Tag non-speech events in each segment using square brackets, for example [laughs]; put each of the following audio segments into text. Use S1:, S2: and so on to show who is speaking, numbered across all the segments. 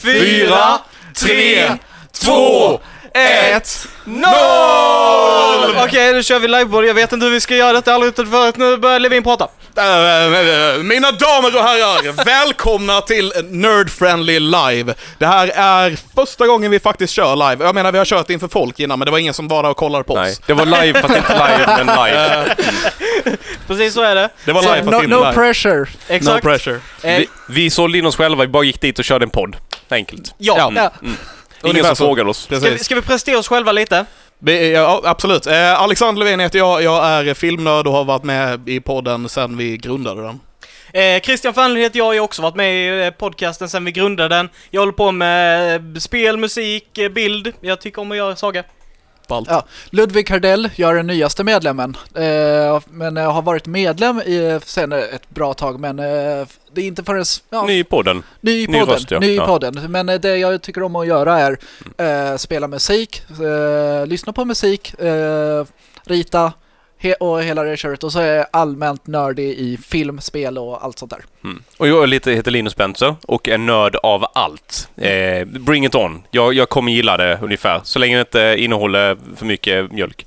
S1: fyra, tre, två, ett, noll!
S2: Okej, nu kör vi liveboard. Jag vet inte hur vi ska göra detta. Jag har aldrig gjort det förut. Nu börjar Levin prata.
S1: Eh, Mina damer och herrar, välkomna till Nerd Friendly Live. Det här är första gången vi faktiskt kör live. Jag menar, vi har kört inför folk innan, men det var ingen som var där och kollade på
S3: Nej,
S1: oss.
S3: det var live fast inte live, men live.
S2: Precis så är det.
S1: Det var live, fast
S4: no,
S1: inte
S4: no
S1: live.
S4: pressure.
S2: Exakt.
S1: No pressure.
S2: Eh,
S3: Vi, vi sålde in oss själva, vi bara gick dit och körde en podd. Enkelt.
S2: ja.
S1: Ja.
S4: Ja.
S3: Ingen
S1: Ungefär
S3: som
S1: så.
S3: frågade oss.
S2: Ska, vi,
S1: Precis.
S2: ska vi presentera oss själva lite?
S1: Vi- Ja, absolut. Eh, Alexander Levin heter jag, jag är filmnörd och har varit med i podden sedan vi grundade den.
S2: Eh, Christian Fernlund heter jag, jag har också varit med i eh, podcasten sedan vi grundade den. Jag håller på med eh, spel, musik, eh, bild. Jag tycker om att göra saker.
S1: Ballt.
S4: Ja. Ludvig Hardell, jag är den nyaste medlemmen. Eh, men jag har varit medlem i, sen ett bra tag, men eh, det är inte förrän... Ja,
S3: Ny i podden.
S4: ny i
S3: ny
S4: podden.
S3: röst, ja.
S4: ny i
S3: Ja.
S4: podden. Men eh, det jag tycker om att göra är eh, spela musik, eh, lyssna på musik, eh, rita he- och hela det köret. Och så är jag allmänt nördig i film, spel och allt sånt där.
S3: Mm. Och jag är lite, heter Linus Benzer och är nörd av allt. Eh, bring it on. Jag, jag kommer gilla det ungefär, så länge det inte innehåller för mycket mjölk.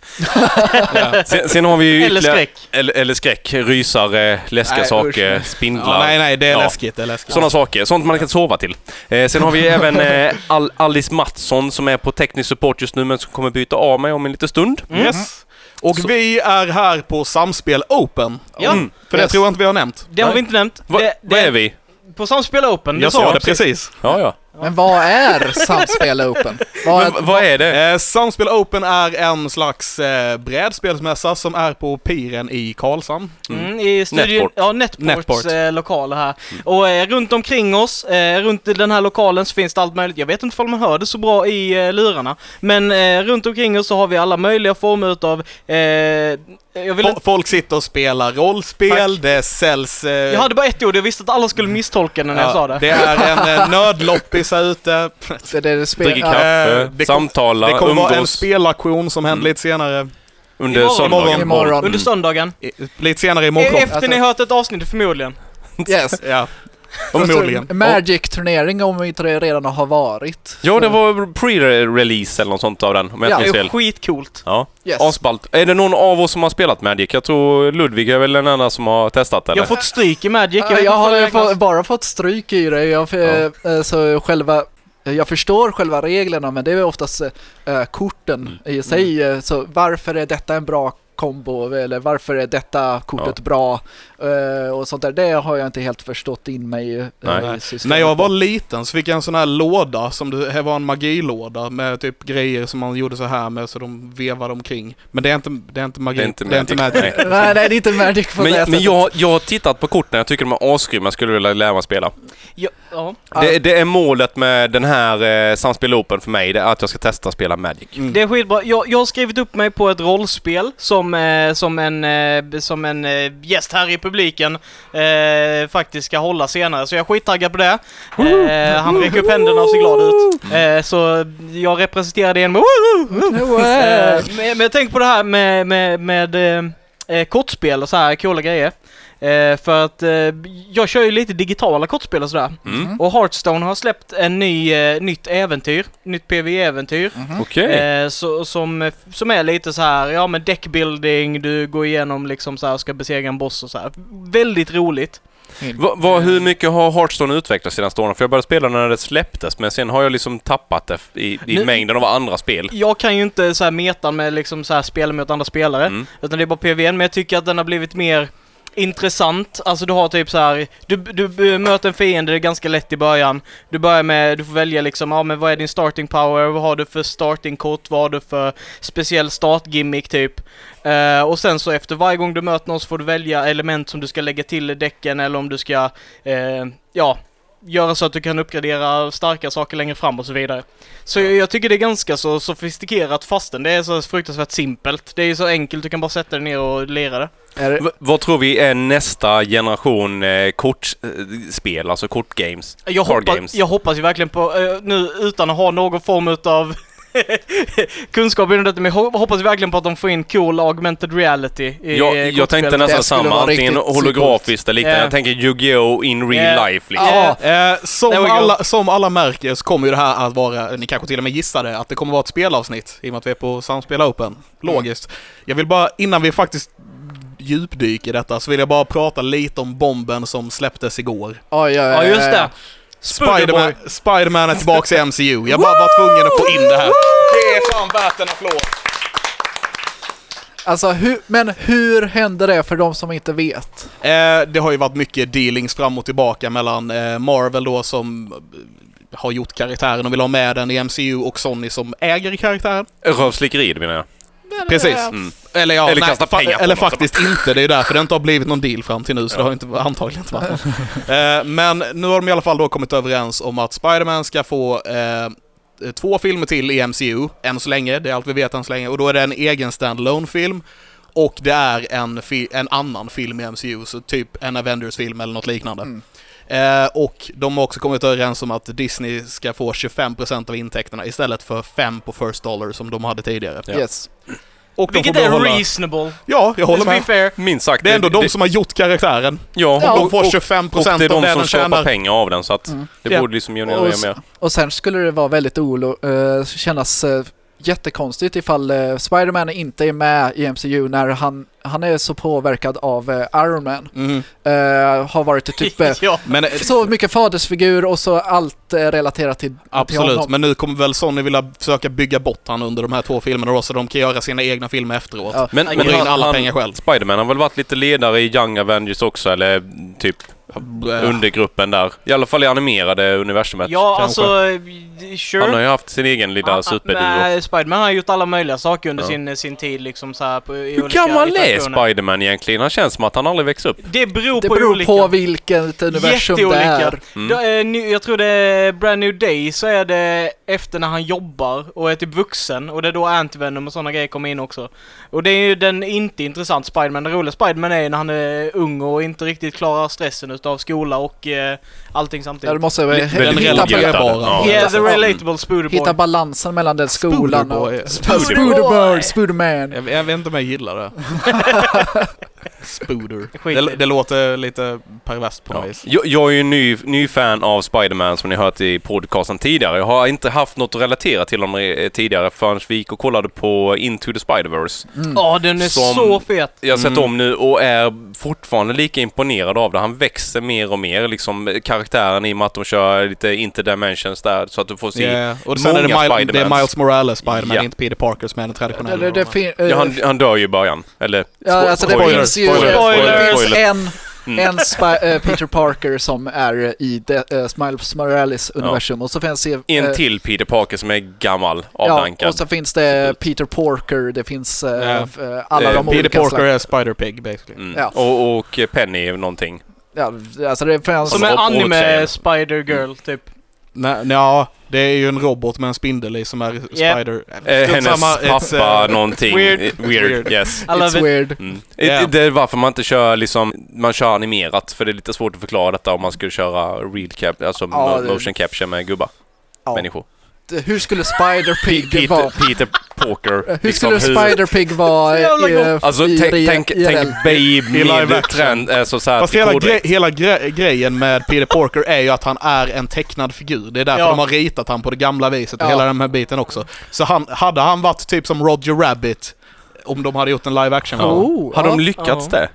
S3: Ja. sen, sen har vi ju
S2: Eller
S3: ytterligare-
S2: skräck.
S3: Eller, eller skräck, rysare, läskiga
S4: Nej,
S3: saker,
S4: usch.
S3: spindlar.
S1: Ja, nej, nej, det är
S3: Ja.
S1: läskigt. Det är läskigt.
S3: Sådana saker, sånt man kan sova till. Eh, sen har vi även eh, Al- Alice Mattsson som är på teknisk support just nu men som kommer byta av mig om en liten stund.
S2: Mm.
S1: Yes. Och vi är här på Samspel Open.
S2: Ja,
S3: Mm.
S1: För det
S4: Yes.
S1: tror jag inte vi har nämnt.
S2: det har vi inte nämnt.
S3: Va,
S2: det,
S3: Vad är vi?
S2: På Samspel Open,
S1: Jag
S2: sa
S1: sa
S2: jag
S1: det precis.
S3: Ja, ja.
S4: Men vad är Samspel Open? Vad
S3: Men, v- vad är det?
S1: Eh, Samspel Open är en slags eh, brädspelsmässa som är på Piren i Karlshamn.
S2: Mm, i studion,
S3: Netport.
S2: ja, Netports
S1: Netport.
S2: Eh, lokal här. Och eh, runt omkring oss, eh, runt i den här lokalen så finns det allt möjligt. Jag vet inte om man hör det så bra i eh, lurarna. Men eh, runt omkring oss så har vi alla möjliga former utav... Eh, jag, vill,
S1: Fo- folk sitter och spelar rollspel,
S2: Tack.
S1: det säljs... eh,
S2: jag hade bara ett ord, jag visste att alla skulle misstolka den när jag
S1: ja,
S2: sa det.
S1: Det är
S2: [laughs]
S1: en eh, nödloppis här ute.
S4: det, det, det spel-
S3: Dricker
S4: ja.
S3: kaffe,
S1: Eh, det kom-
S3: samtala,
S1: Det kommer vara en
S3: umgås
S1: spelaktion som
S2: Mm.
S1: händer lite senare.
S3: under
S2: Imorgon.
S3: söndagen. Mm.
S4: Imorgon.
S2: Under söndagen.
S1: I, lite senare
S2: E-
S1: imorgon.
S2: efter ni hört ett avsnitt förmodligen.
S4: Yes.
S1: Ja,
S4: Fast
S1: förmodligen.
S4: en Magic-turnering om inte det redan har varit.
S3: Ja, det var pre-release eller något sånt av den, om jag
S4: Ja.
S2: Det
S3: inte minns
S2: är
S3: fel.
S2: skitcoolt.
S3: Ja,
S4: Yes.
S3: asballt. Är det någon av oss som har spelat Magic? Jag tror Ludvig är väl den enda som har testat
S2: Jag
S3: eller?
S2: har fått stryk i Magic.
S4: jag,
S2: vet inte om
S4: har
S2: det
S4: få,
S2: räknas.
S4: bara fått stryk i det. Jag,
S3: Ja.
S4: eh, så själva, jag förstår själva reglerna men det är oftast eh, korten i sig. eh, Så varför är detta en bra kombo eller varför är detta kortet bra eh, och sånt där. Det har jag inte helt förstått in mig eh,
S3: Nej.
S4: i systemet.
S1: När jag var liten så fick jag en sån här låda som det här var en magilåda med typ grejer som man gjorde så här med så de vevade omkring. Men det är inte, det är inte magi.
S3: Det är inte Magic. Nej.
S4: Nej, nej, det är inte Magic på det
S3: Men, men
S4: sättet.
S3: jag, jag har tittat på korten, jag tycker de är asgrymma, jag skulle vilja lära mig spela.
S2: Ja, ja.
S3: Det, det är målet med den här eh, Samspel Open för mig, det är att jag ska testa att spela Magic.
S1: Mm.
S2: Det är skitbra. Jag, jag har skrivit upp mig på ett rollspel som, eh, som en, eh, som en eh, gäst här i publiken eh, faktiskt ska hålla senare, så jag är skittaggad på det. Eh, han räcker upp händerna och ser glad ut. Eh, så jag representerar det genom [laughs] Eh, men, men jag tänker på det här med, med, med eh, eh, kortspel och så här coola grejer. Eh, för att eh, jag kör ju lite digitala kortspel och sådär.
S3: Mm.
S2: Och Hearthstone har släppt en ny, eh, nytt äventyr, nytt PV-äventyr.
S4: Mm-hmm.
S3: Okej.
S2: Eh, så, som, som är lite så här, ja men deckbuilding, du går igenom liksom så här, ska besegra en boss och så här. Väldigt roligt.
S3: Va, va, hur mycket har Hearthstone utvecklats senaste åren? För jag började spela när det släpptes, men sen har jag liksom tappat det i, i
S2: Nu-
S3: mängden av andra spel.
S2: Jag kan ju inte så här metan med liksom så här spela mot andra spelare,
S3: Mm.
S2: utan det är bara PVN, men jag tycker att den har blivit mer intressant. Alltså du har typ så här, du, du eh, möter en fiende, det är ganska lätt i början. Du börjar med, du får välja liksom, ja men vad är din starting power, vad har du för starting kort, vad har du för speciell startgimmick typ. Eh, och sen så efter varje gång du möter någon så får du välja element som du ska lägga till i däcken eller om du ska, eh, ja, göra så att du kan uppgradera starka saker längre fram och så vidare. Så jag, jag tycker det är ganska så sofistikerat fastän det är så fruktansvärt simpelt. Det är ju så enkelt, du kan bara sätta dig ner och lira det.
S4: Är det-
S3: Va, vad tror vi är nästa generation eh, kortspel, alltså kortgames?
S2: Jag
S3: Card
S2: hoppas,
S3: games.
S2: jag hoppas ju verkligen på, eh, nu utan att ha någon form utav [laughs] kunskap inom detta, men jag hoppas verkligen på att de får in cool augmented reality i
S3: Jag,
S2: eh,
S3: jag
S2: kortspelet.
S3: tänkte nästan
S4: Det skulle
S3: samma,
S4: vara
S3: antingen
S4: riktigt
S3: holografiskt eller liknande.
S2: Ja.
S3: Jag tänker Yu-Gi-Oh! in real
S2: Ja.
S3: life liksom.
S4: Ja,
S1: Eh,
S2: There
S1: som,
S2: we go.
S1: alla, som alla märker så kommer ju det här att vara, ni kanske till och med gissade, att det kommer vara ett spelavsnitt i och med att vi är på Samspel Open. Logiskt. Jag vill bara, innan vi faktiskt djupdyker i detta, så vill jag bara prata lite om bomben som släpptes igår.
S4: oj, oj, oj,
S2: Ja, just det.
S1: Spiderman,
S2: Spiderboy.
S1: Spiderman är tillbaka i MCU. Jag bara var tvungen att få in det här. Det är fan värt en applåd.
S4: Alltså, hur, men hur hände det för de som inte vet?
S1: Eh, det har ju varit mycket dealings fram och tillbaka mellan eh, Marvel då som eh, har gjort karaktären och vill ha med den i MCU och Sony som äger karaktären.
S3: Rövslickeriet menar jag.
S1: Precis.
S3: Mm.
S1: Eller ja,
S3: Eller
S1: nej,
S3: kasta
S1: fa-
S3: pengar på
S1: Eller
S3: någon.
S1: faktiskt inte. Det är ju därför det inte har blivit någon deal fram till nu, så det har ju inte, antagligen inte varit
S3: [laughs]
S1: någon. eh, Men nu har de i alla fall då kommit överens om att Spider-Man ska få eh, två filmer till i MCU, än så länge. Det är allt vi vet än så länge. Och då är det en egen standalone film och det är en, fi- en annan film i MCU, så typ en Avengers-film eller något liknande.
S4: Mm.
S1: Eh, och de har också kommit överens om att Disney ska få 25% av intäkterna istället för 5 på First Dollar som de hade tidigare.
S3: Ja.
S4: Yes.
S1: Och de
S2: Vilket
S1: får
S2: är
S1: behålla-
S2: reasonable.
S1: Ja, jag håller
S2: Let's be
S1: med.
S2: fair.
S3: Minst sagt.
S1: Det är ändå de som har gjort karaktären.
S3: Ja,
S4: Ja,
S3: och,
S1: De
S3: och,
S1: får
S3: och,
S1: 25
S3: och det
S1: procent
S3: är
S1: av
S3: de
S1: det
S3: som
S1: de
S3: skapar
S1: tjänar.
S3: penga av den så att
S4: Mm.
S3: det
S1: Ja.
S3: borde liksom generera
S4: Och
S3: mer.
S4: s- Och sen skulle det vara väldigt olo, eh, kännas eh, jättekonstigt ifall eh, Spider-Man inte är med i MCU när han, han är så påverkad av eh, Iron Man.
S1: Mm.
S4: Eh, har
S2: [laughs]
S4: varit typ eh,
S2: ja.
S1: Men, eh,
S4: så mycket fadersfigur och så allt eh, relaterat till, till
S1: absolut,
S4: honom.
S1: men nu kommer väl Sony vilja försöka bygga bort han under de här två filmerna då, så de kan göra sina egna filmer efteråt.
S4: Ja.
S3: Men,
S1: Och
S3: men
S1: dra in
S3: han,
S1: alla
S3: han,
S1: pengar själv.
S3: Spiderman har väl varit lite ledare i Young Avengers också, eller typ undergruppen där. I alla fall i animerade universumet.
S2: Ja,
S1: kanske.
S2: alltså, eh, sure.
S3: Han har ju haft sin egen lilla
S2: Ah, ah,
S3: superduo.
S2: nej, Spiderman har gjort alla möjliga saker under
S3: Ja.
S2: sin, sin tid liksom så här på, i
S3: Hur
S2: olika
S3: gammal är
S2: iterationer.
S3: Spiderman egentligen? Han känns som att han aldrig växer upp.
S2: Det beror
S4: det
S2: på
S4: beror
S2: olika.
S4: på vilket universum det är.
S2: Jätteolika.
S3: Mm.
S2: Då, eh, nu- jag tror det är Brand New Day så är det efter när han jobbar och är typ vuxen och det är då Antivenom och sådana grejer kommer in också. Och det är ju den inte intressant Spiderman. Den roliga Spiderman är ju när han är ung och inte riktigt klarar stressen utav skola och eh, allting
S4: Där
S2: samtidigt.
S4: måste vi
S1: Den
S4: hitta-
S1: relativt
S3: ohjältad.
S1: bara.
S3: Ja.
S2: Yeah, the
S4: Ja.
S2: relatable Spooderboy.
S4: Hitta balansen mellan den skolan och...
S1: Spooderboy.
S4: Spooderboy! Spooderman!
S1: Jag, jag vet inte om jag gillar
S3: [laughs]
S1: det. Spooder.
S2: Skit i
S1: Det,
S2: det.
S1: det låter lite perverst på
S3: Ja.
S1: något vis.
S3: Jag, jag är ju en ny, ny fan av Spiderman som ni har hört i podcasten tidigare. Jag har inte haft något att relatera till honom eh, tidigare förrän vi gick och kollade på Into the Spider-Verse.
S4: Mm.
S2: Ja, den är
S3: Som-
S2: så fet.
S3: Jag har sett
S1: Mm.
S3: om nu och är fortfarande lika imponerad av det. Han växer mer och mer, liksom eh, karaktären i och med att de kör lite interdimensions där så att du får se.
S1: Yeah. Och sen är det,
S3: många
S1: Mil- det är
S3: Spidermans.
S1: Miles Morales Spiderman,
S3: Ja.
S1: inte Peter Parker som är den traditionella.
S4: Eller det fin-
S3: Ja, han,
S4: eh,
S3: han dör ju i början. Eller?
S4: Ja, alltså det
S1: spoiler,
S4: finns ju...
S1: spoiler,
S4: Det
S2: spoiler.
S4: finns
S3: Spoiler.
S4: en,
S3: Mm.
S4: en Spi- eh, Peter Parker som är i de- eh, Smiles Morales universum och så finns det... eh,
S3: En till Peter Parker som är gammal,
S4: Ja,
S3: avdankad.
S4: och så finns det Peter Parker, det finns eh,
S1: Ja.
S4: f- eh, alla
S3: Eh,
S4: de
S1: Peter
S4: olika
S1: Parker
S4: slags-
S1: är Spider-Pig basically.
S3: mm.
S4: ja.
S3: och, och Penny är någonting.
S4: Ja, alltså det finns...
S2: Som en
S3: Robot säger
S2: anime
S3: det.
S2: Spider Girl typ.
S1: Nej, ja, det är ju en robot med en spindel i som är Spider...
S3: Eh, hennes
S1: Samma- it's, eh,
S3: pappa någonting.
S2: weird.
S3: Eh, Weird,
S1: Weird.
S3: yes.
S2: I love
S4: It's
S2: it.
S4: weird.
S3: Mm.
S1: Yeah.
S3: Eh, Det är varför man inte kör liksom, man kör animerat för det är lite svårt att förklara detta om man skulle köra real cap, alltså
S4: Ja,
S3: mo-
S4: det-
S3: motion capture med gubbar,
S4: Ja.
S3: människor.
S4: Hur skulle Spider-Pig vara?
S3: Peter, Peter Parker.
S4: Hur skulle Spider-Pig
S1: [laughs]
S4: vara i,
S2: Så jävla
S4: i,
S2: gott.
S3: Alltså
S4: i,
S3: tänk,
S4: re-
S3: tänk,
S4: IRL?
S3: tänk Babe
S1: live
S3: med
S1: action.
S3: trend, alltså såhär
S1: Fast hela, gre- hela gre- grejen med Peter Parker är ju att han är en tecknad figur. Det är därför
S2: Ja.
S1: de har ritat han på det gamla viset och
S4: Ja.
S1: hela den här biten också. Så han, hade han varit typ som Roger Rabbit, om de hade gjort en live action ja.
S4: Oh,
S3: Har de
S4: ja.
S3: lyckats
S2: Ja.
S3: det?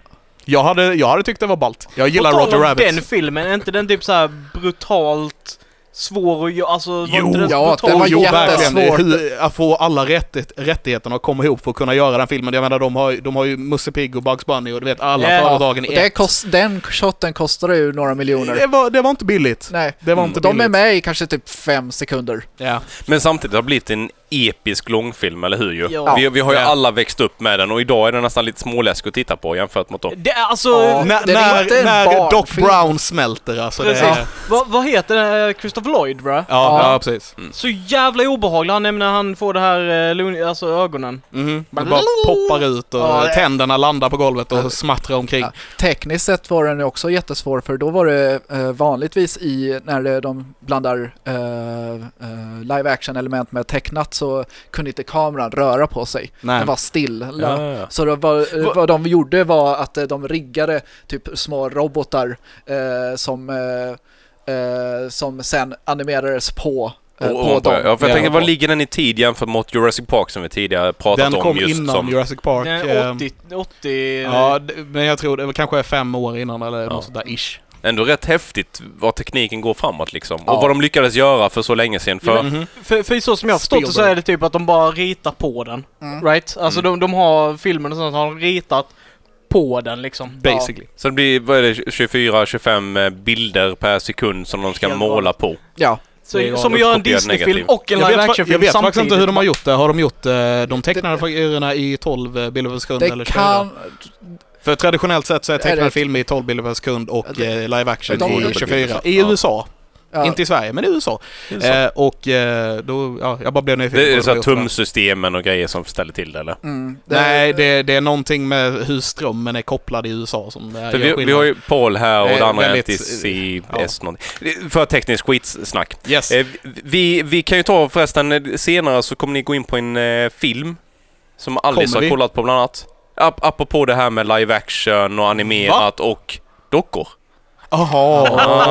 S1: jag, hade, jag hade tyckt det var ballt. Jag gillar
S2: På tal
S1: Roger
S2: om
S1: Rabbit.
S2: den filmen, är inte den typ så här brutalt svår att göra? Alltså, var
S1: Jo,
S2: inte den
S4: ja,
S2: brutal?
S4: den var
S1: jo, verkligen.
S4: jättesvår.
S1: Hur, att få alla rätt, rättigheterna att komma ihop för att kunna göra den filmen. Jag menar, de har, ju- de har ju Musse Pigg och Bugs Bunny och du vet alla
S2: Ja.
S1: företagen
S4: Och
S1: i
S4: det
S1: ett.
S4: kost, den shotten kostar ju några miljoner.
S1: Det var, det var inte billigt.
S4: Nej.
S1: Det var
S3: Mm.
S1: inte
S4: De är
S1: billigt.
S4: med i kanske typ fem sekunder.
S1: Ja.
S3: Men samtidigt har det blivit en episk långfilm, eller hur ju?
S2: Ja.
S3: Vi, vi har ju
S1: Ja.
S3: alla växt upp med den och idag är den nästan lite småläskig att titta på jämfört mot dem.
S2: Det är alltså...
S4: Ja.
S1: När,
S4: den är
S1: när,
S4: inte en
S1: när Doc
S4: barnfilm.
S1: Brown smälter alltså. Det
S2: Precis.
S1: är,
S2: Vad, vad heter den? Eh, Christopher of Lloyd bra.
S1: Ja,
S4: Ja.
S1: ja precis.
S2: Så jävla obehaglig han är när han får det här, eh, lun- alltså ögonen.
S1: Mhm. Det bara poppar ut och
S4: Ja, det-
S1: tänderna landar på golvet och smattrar omkring.
S4: Ja. Tekniskt sett var den ju också jättesvår för då var det eh, vanligtvis i när det- de blandar eh, eh, live action element med tecknat så kunde inte kameran röra på sig.
S1: Nej.
S4: Den var still.
S3: Ja, ja.
S4: Så det var, eh, vad de gjorde var att eh, de riggade typ små robotar eh, som, eh, eh, som sen animerades på, eh,
S3: Och-
S4: på
S3: och-
S4: dem.
S3: ja, för jag
S1: Ja.
S3: tänker, var ligger den i tid jämfört mot Jurassic Park som vi tidigare pratat
S1: Den
S3: om?
S1: kom
S3: just
S1: innan
S3: som,
S1: Jurassic Park.
S2: Eh,
S1: ehm,
S2: 80, 80...
S1: Ja, d- men jag tror det var kanske fem år innan eller
S3: Ja.
S1: något sånt där ish.
S3: Ändå rätt häftigt vad tekniken går framåt liksom.
S4: Ja.
S3: Och vad de lyckades göra för så länge sedan. För,
S2: Ja,
S1: Mhm.
S2: För, för så som jag har förstått det så
S1: Spielberg.
S2: är det typ att de bara ritar på den.
S4: Mm.
S2: Right? Alltså de, de har filmen och sånt har de ritat på den liksom.
S1: Basically.
S3: Så det blir, vad är det, 24-25 bilder per sekund som de ska
S2: Helt
S3: måla på.
S4: Ja,
S2: Så,
S1: Det är
S2: som att
S1: en
S2: göra en
S3: uppkopierad
S2: Disney-film
S3: negativ.
S2: och en
S1: Jag
S2: live
S1: vet, fa- jag
S2: action-film
S1: vet
S2: samtidigt.
S1: faktiskt inte hur de har gjort det. Har de gjort eh, de tecknade figurerna i 12 eh, bilder per sekund eller
S4: det
S1: kör de?
S4: kan...
S1: För traditionellt sett så är
S4: Är
S1: tecknade
S4: det-
S1: filmer i 12 bilder per sekund och
S4: Det-
S1: eh, live action
S4: De-
S1: i 24. I
S3: Ja.
S1: USA.
S4: Ja,
S1: Inte i Sverige, men i USA. Eh, och eh, då, ja, jag bara blev nyfiken.
S3: Det
S1: på
S3: är
S1: hur
S3: så här
S1: de har gjort
S3: tumsystemen och grejer som ställer till det eller?
S4: mm,
S1: det. Nej, det, det är någonting med hur strömmen är kopplad i USA som det här
S3: För
S1: gör
S3: vi, vi
S1: skillnad.
S3: har ju Paul här och
S1: Eh,
S3: det andra är
S1: väldigt-
S3: NTCS någonting. Det- För tekniskt skitsnack.
S1: Yes.
S3: Eh, Vi, vi kan ju ta förresten eh, senare så kommer ni gå in på en eh, film som Alice
S1: Kommer vi?
S3: har kollat på bland annat. Ap apropå det här med live action och animerat och dockor.
S1: Jaha,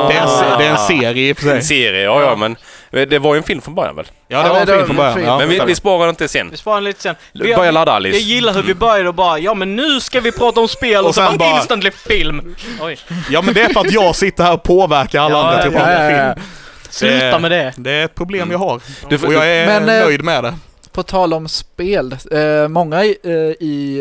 S1: det, är en se- det är en serie i och för
S3: Ah. En
S1: sig.
S3: serie, ja ja men eh, det var ju en film från början väl?
S1: Ja, det
S4: Ja,
S1: var
S4: men
S1: en film
S4: det var
S1: från
S4: en
S1: början.
S4: film.
S1: Ja,
S3: Men vi, vi sparar den till sen.
S2: Vi sparar lite sen. Vi-
S3: Börja ladda Alice.
S2: Jag gillar hur vi började och bara ja men nu ska vi prata om spel och,
S1: Och
S2: så
S1: sen
S2: bara,
S1: bara-
S2: instantly film. Oj.
S1: Ja men det är för att jag sitter här och påverkar alla
S2: Ja,
S1: andra till att
S2: ja,
S1: prata
S4: ja, ja.
S1: film.
S2: Sluta
S1: Eh,
S2: med det.
S1: Det är ett problem jag har.
S3: Du får-
S1: Och jag är
S4: Men, eh,
S1: nöjd med det.
S4: På tal om spel, eh, många i, eh, i,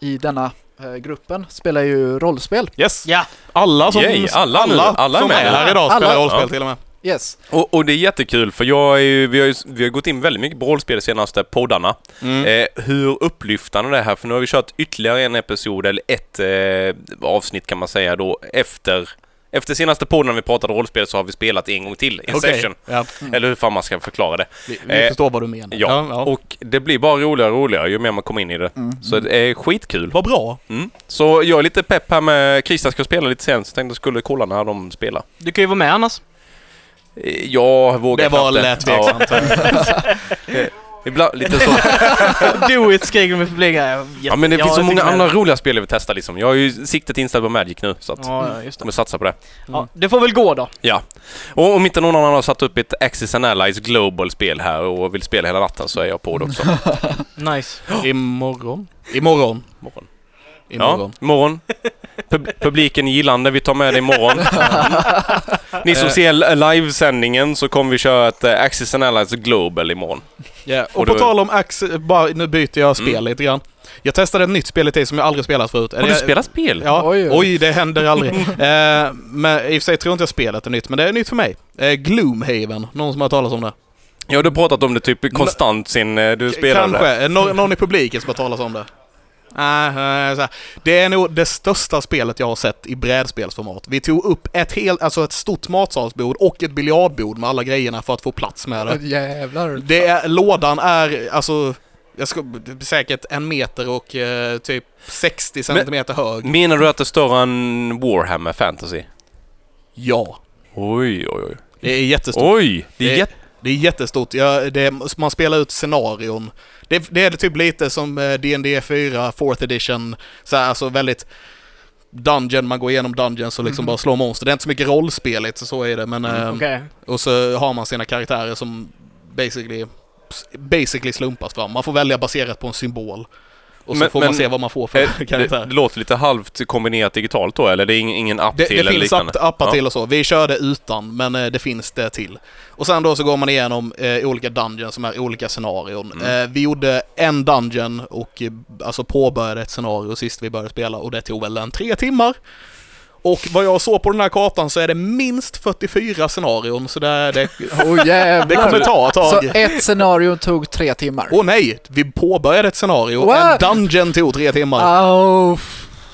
S4: eh, i denna eh, gruppen spelar ju rollspel.
S1: Yes!
S2: Ja.
S1: Alla som,
S3: Yay, alla nu. Alla är
S1: som
S3: med
S1: är
S3: nu.
S1: här idag
S4: Alla.
S1: spelar rollspel
S3: Ja.
S1: till och med.
S4: Yes.
S3: Och, och det är jättekul för jag är ju, vi, har ju, vi har gått in väldigt mycket på rollspel de senaste poddarna.
S1: Mm.
S3: Eh, hur upplyftande det är här, för nu har vi kört ytterligare en episod, eller ett eh, avsnitt kan man säga då, efter, efter senaste podden när vi pratade rollspel så har vi spelat en gång till, en
S1: Okej. Mm.
S3: session.
S1: Ja,
S3: Eller hur fan man ska förklara det.
S1: vi vi
S3: Eh,
S1: förstår vad du menar.
S3: Ja. och det blir bara roligare och roligare ju mer man kommer in i det.
S1: Mm.
S3: Så det är skitkul.
S1: Vad bra.
S3: Mm. Så jag är lite pepp här med, Christian ska spela lite sen, så jag tänkte jag skulle kolla när de spelar.
S2: Du kan ju vara med annars.
S3: Eh, Jag vågar
S1: Det var
S3: knappt
S1: lätt tveksamt. [laughs]
S3: Ibland, lite så.
S2: [laughs] Do it skrek de i publiken. Jag-
S3: Ja men det
S2: jag-
S3: finns så
S2: jag
S3: många
S2: tycker med
S3: andra
S2: det.
S3: roliga spel jag vill testa liksom. Jag har ju siktet inställt på Magic nu så att jag
S2: Ja, ja, just det.
S3: kommer satsa på det.
S2: Ja, det får väl gå då.
S3: Ja. Och om inte någon annan har satt upp ett Axis and Allies Global spel här och vill spela hela natten så är jag på det också.
S2: Nice.
S1: [gasps] Imorgon. Imorgon.
S3: Imorgon. Ja,
S1: Imorgon.
S3: imorgon. Pub publiken gillande, vi tar med det imorgon. Ni som ser li- livesändningen så kommer vi köra ett eh, Axis and Allies Global imorgon.
S1: Ja. Och,
S3: Och
S1: på
S3: då-
S1: tal om Axel, bara, nu byter jag spel
S3: Mm.
S1: lite grann. Jag testade ett nytt spel i tid som jag aldrig spelat förut.
S3: Har du spelat spel?
S1: Ja, oj,
S4: Oj, oj.
S1: det händer
S3: [laughs]
S1: aldrig. eh, men i och för sig tror inte jag spelet är nytt, men det är nytt för mig. Eh, Gloomhaven, någon som har hört talas om det?
S3: Ja, du har pratat om det typ konstant sen eh, du spelade.
S1: Kanske, Eh, nå- någon i publiken som har hört talas om det? Nej, nej, så här. det är nog det största spelet jag har sett i brädspelsformat. Vi tog upp ett helt, alltså ett stort matsalsbord och ett biljardbord med alla grejerna för att få plats med det.
S4: Jävlar.
S1: det är, lådan är, alltså, jag ska, säkert en meter och eh, typ 60 centimeter hög.
S3: Menar du att det är större än Warhammer Fantasy?
S1: Ja,
S3: Oj, oj, oj.
S1: det är jättestort.
S3: Oj! Det Eh, är
S1: Det-
S3: jätte...
S1: Det är jättestort. Ja, det, man spelar ut scenarion. Det, det är typ lite som eh, D&D 4, 4th edition. Så här, alltså väldigt dungeon, man går igenom dungeons och liksom
S4: Mhm.
S1: bara slår monster. Det är inte så mycket rollspeligt, så är det. Men,
S3: Ehm,
S1: eh,
S2: Mm, Okej.
S3: [laughs]
S1: Och så har man sina karaktärer som basically, basically slumpas fram. Man får välja baserat på en symbol. Och så
S3: Men-
S1: får man
S3: men-
S1: se vad man får
S3: Eh,
S1: för [laughs]
S3: Det,
S1: karaktär.
S3: det låter lite halvt kombinerat digitalt då, eller? Det är ing- ingen app
S1: Det,
S3: till
S1: det
S3: eller
S1: finns
S3: liknande?
S1: app, appar
S3: Ja.
S1: till och så. Vi körde utan, men eh, det finns det till. Och sen då så går man igenom eh, olika dungeons som är olika scenarion.
S3: Mm.
S1: Eh, vi gjorde en dungeon och eh, alltså påbörjade ett scenario sist vi började spela och det tog väl en tre timmar. Och vad jag såg på den här kartan så är det minst 44 scenarion, så det, det,
S4: Åh [laughs]
S1: det kommer
S4: jävlar.
S1: ta ett
S4: Så
S1: tag.
S4: ett scenario tog tre timmar.
S1: Åh nej, vi påbörjade ett scenario,
S4: What?
S1: en dungeon tog tre timmar.
S4: Au.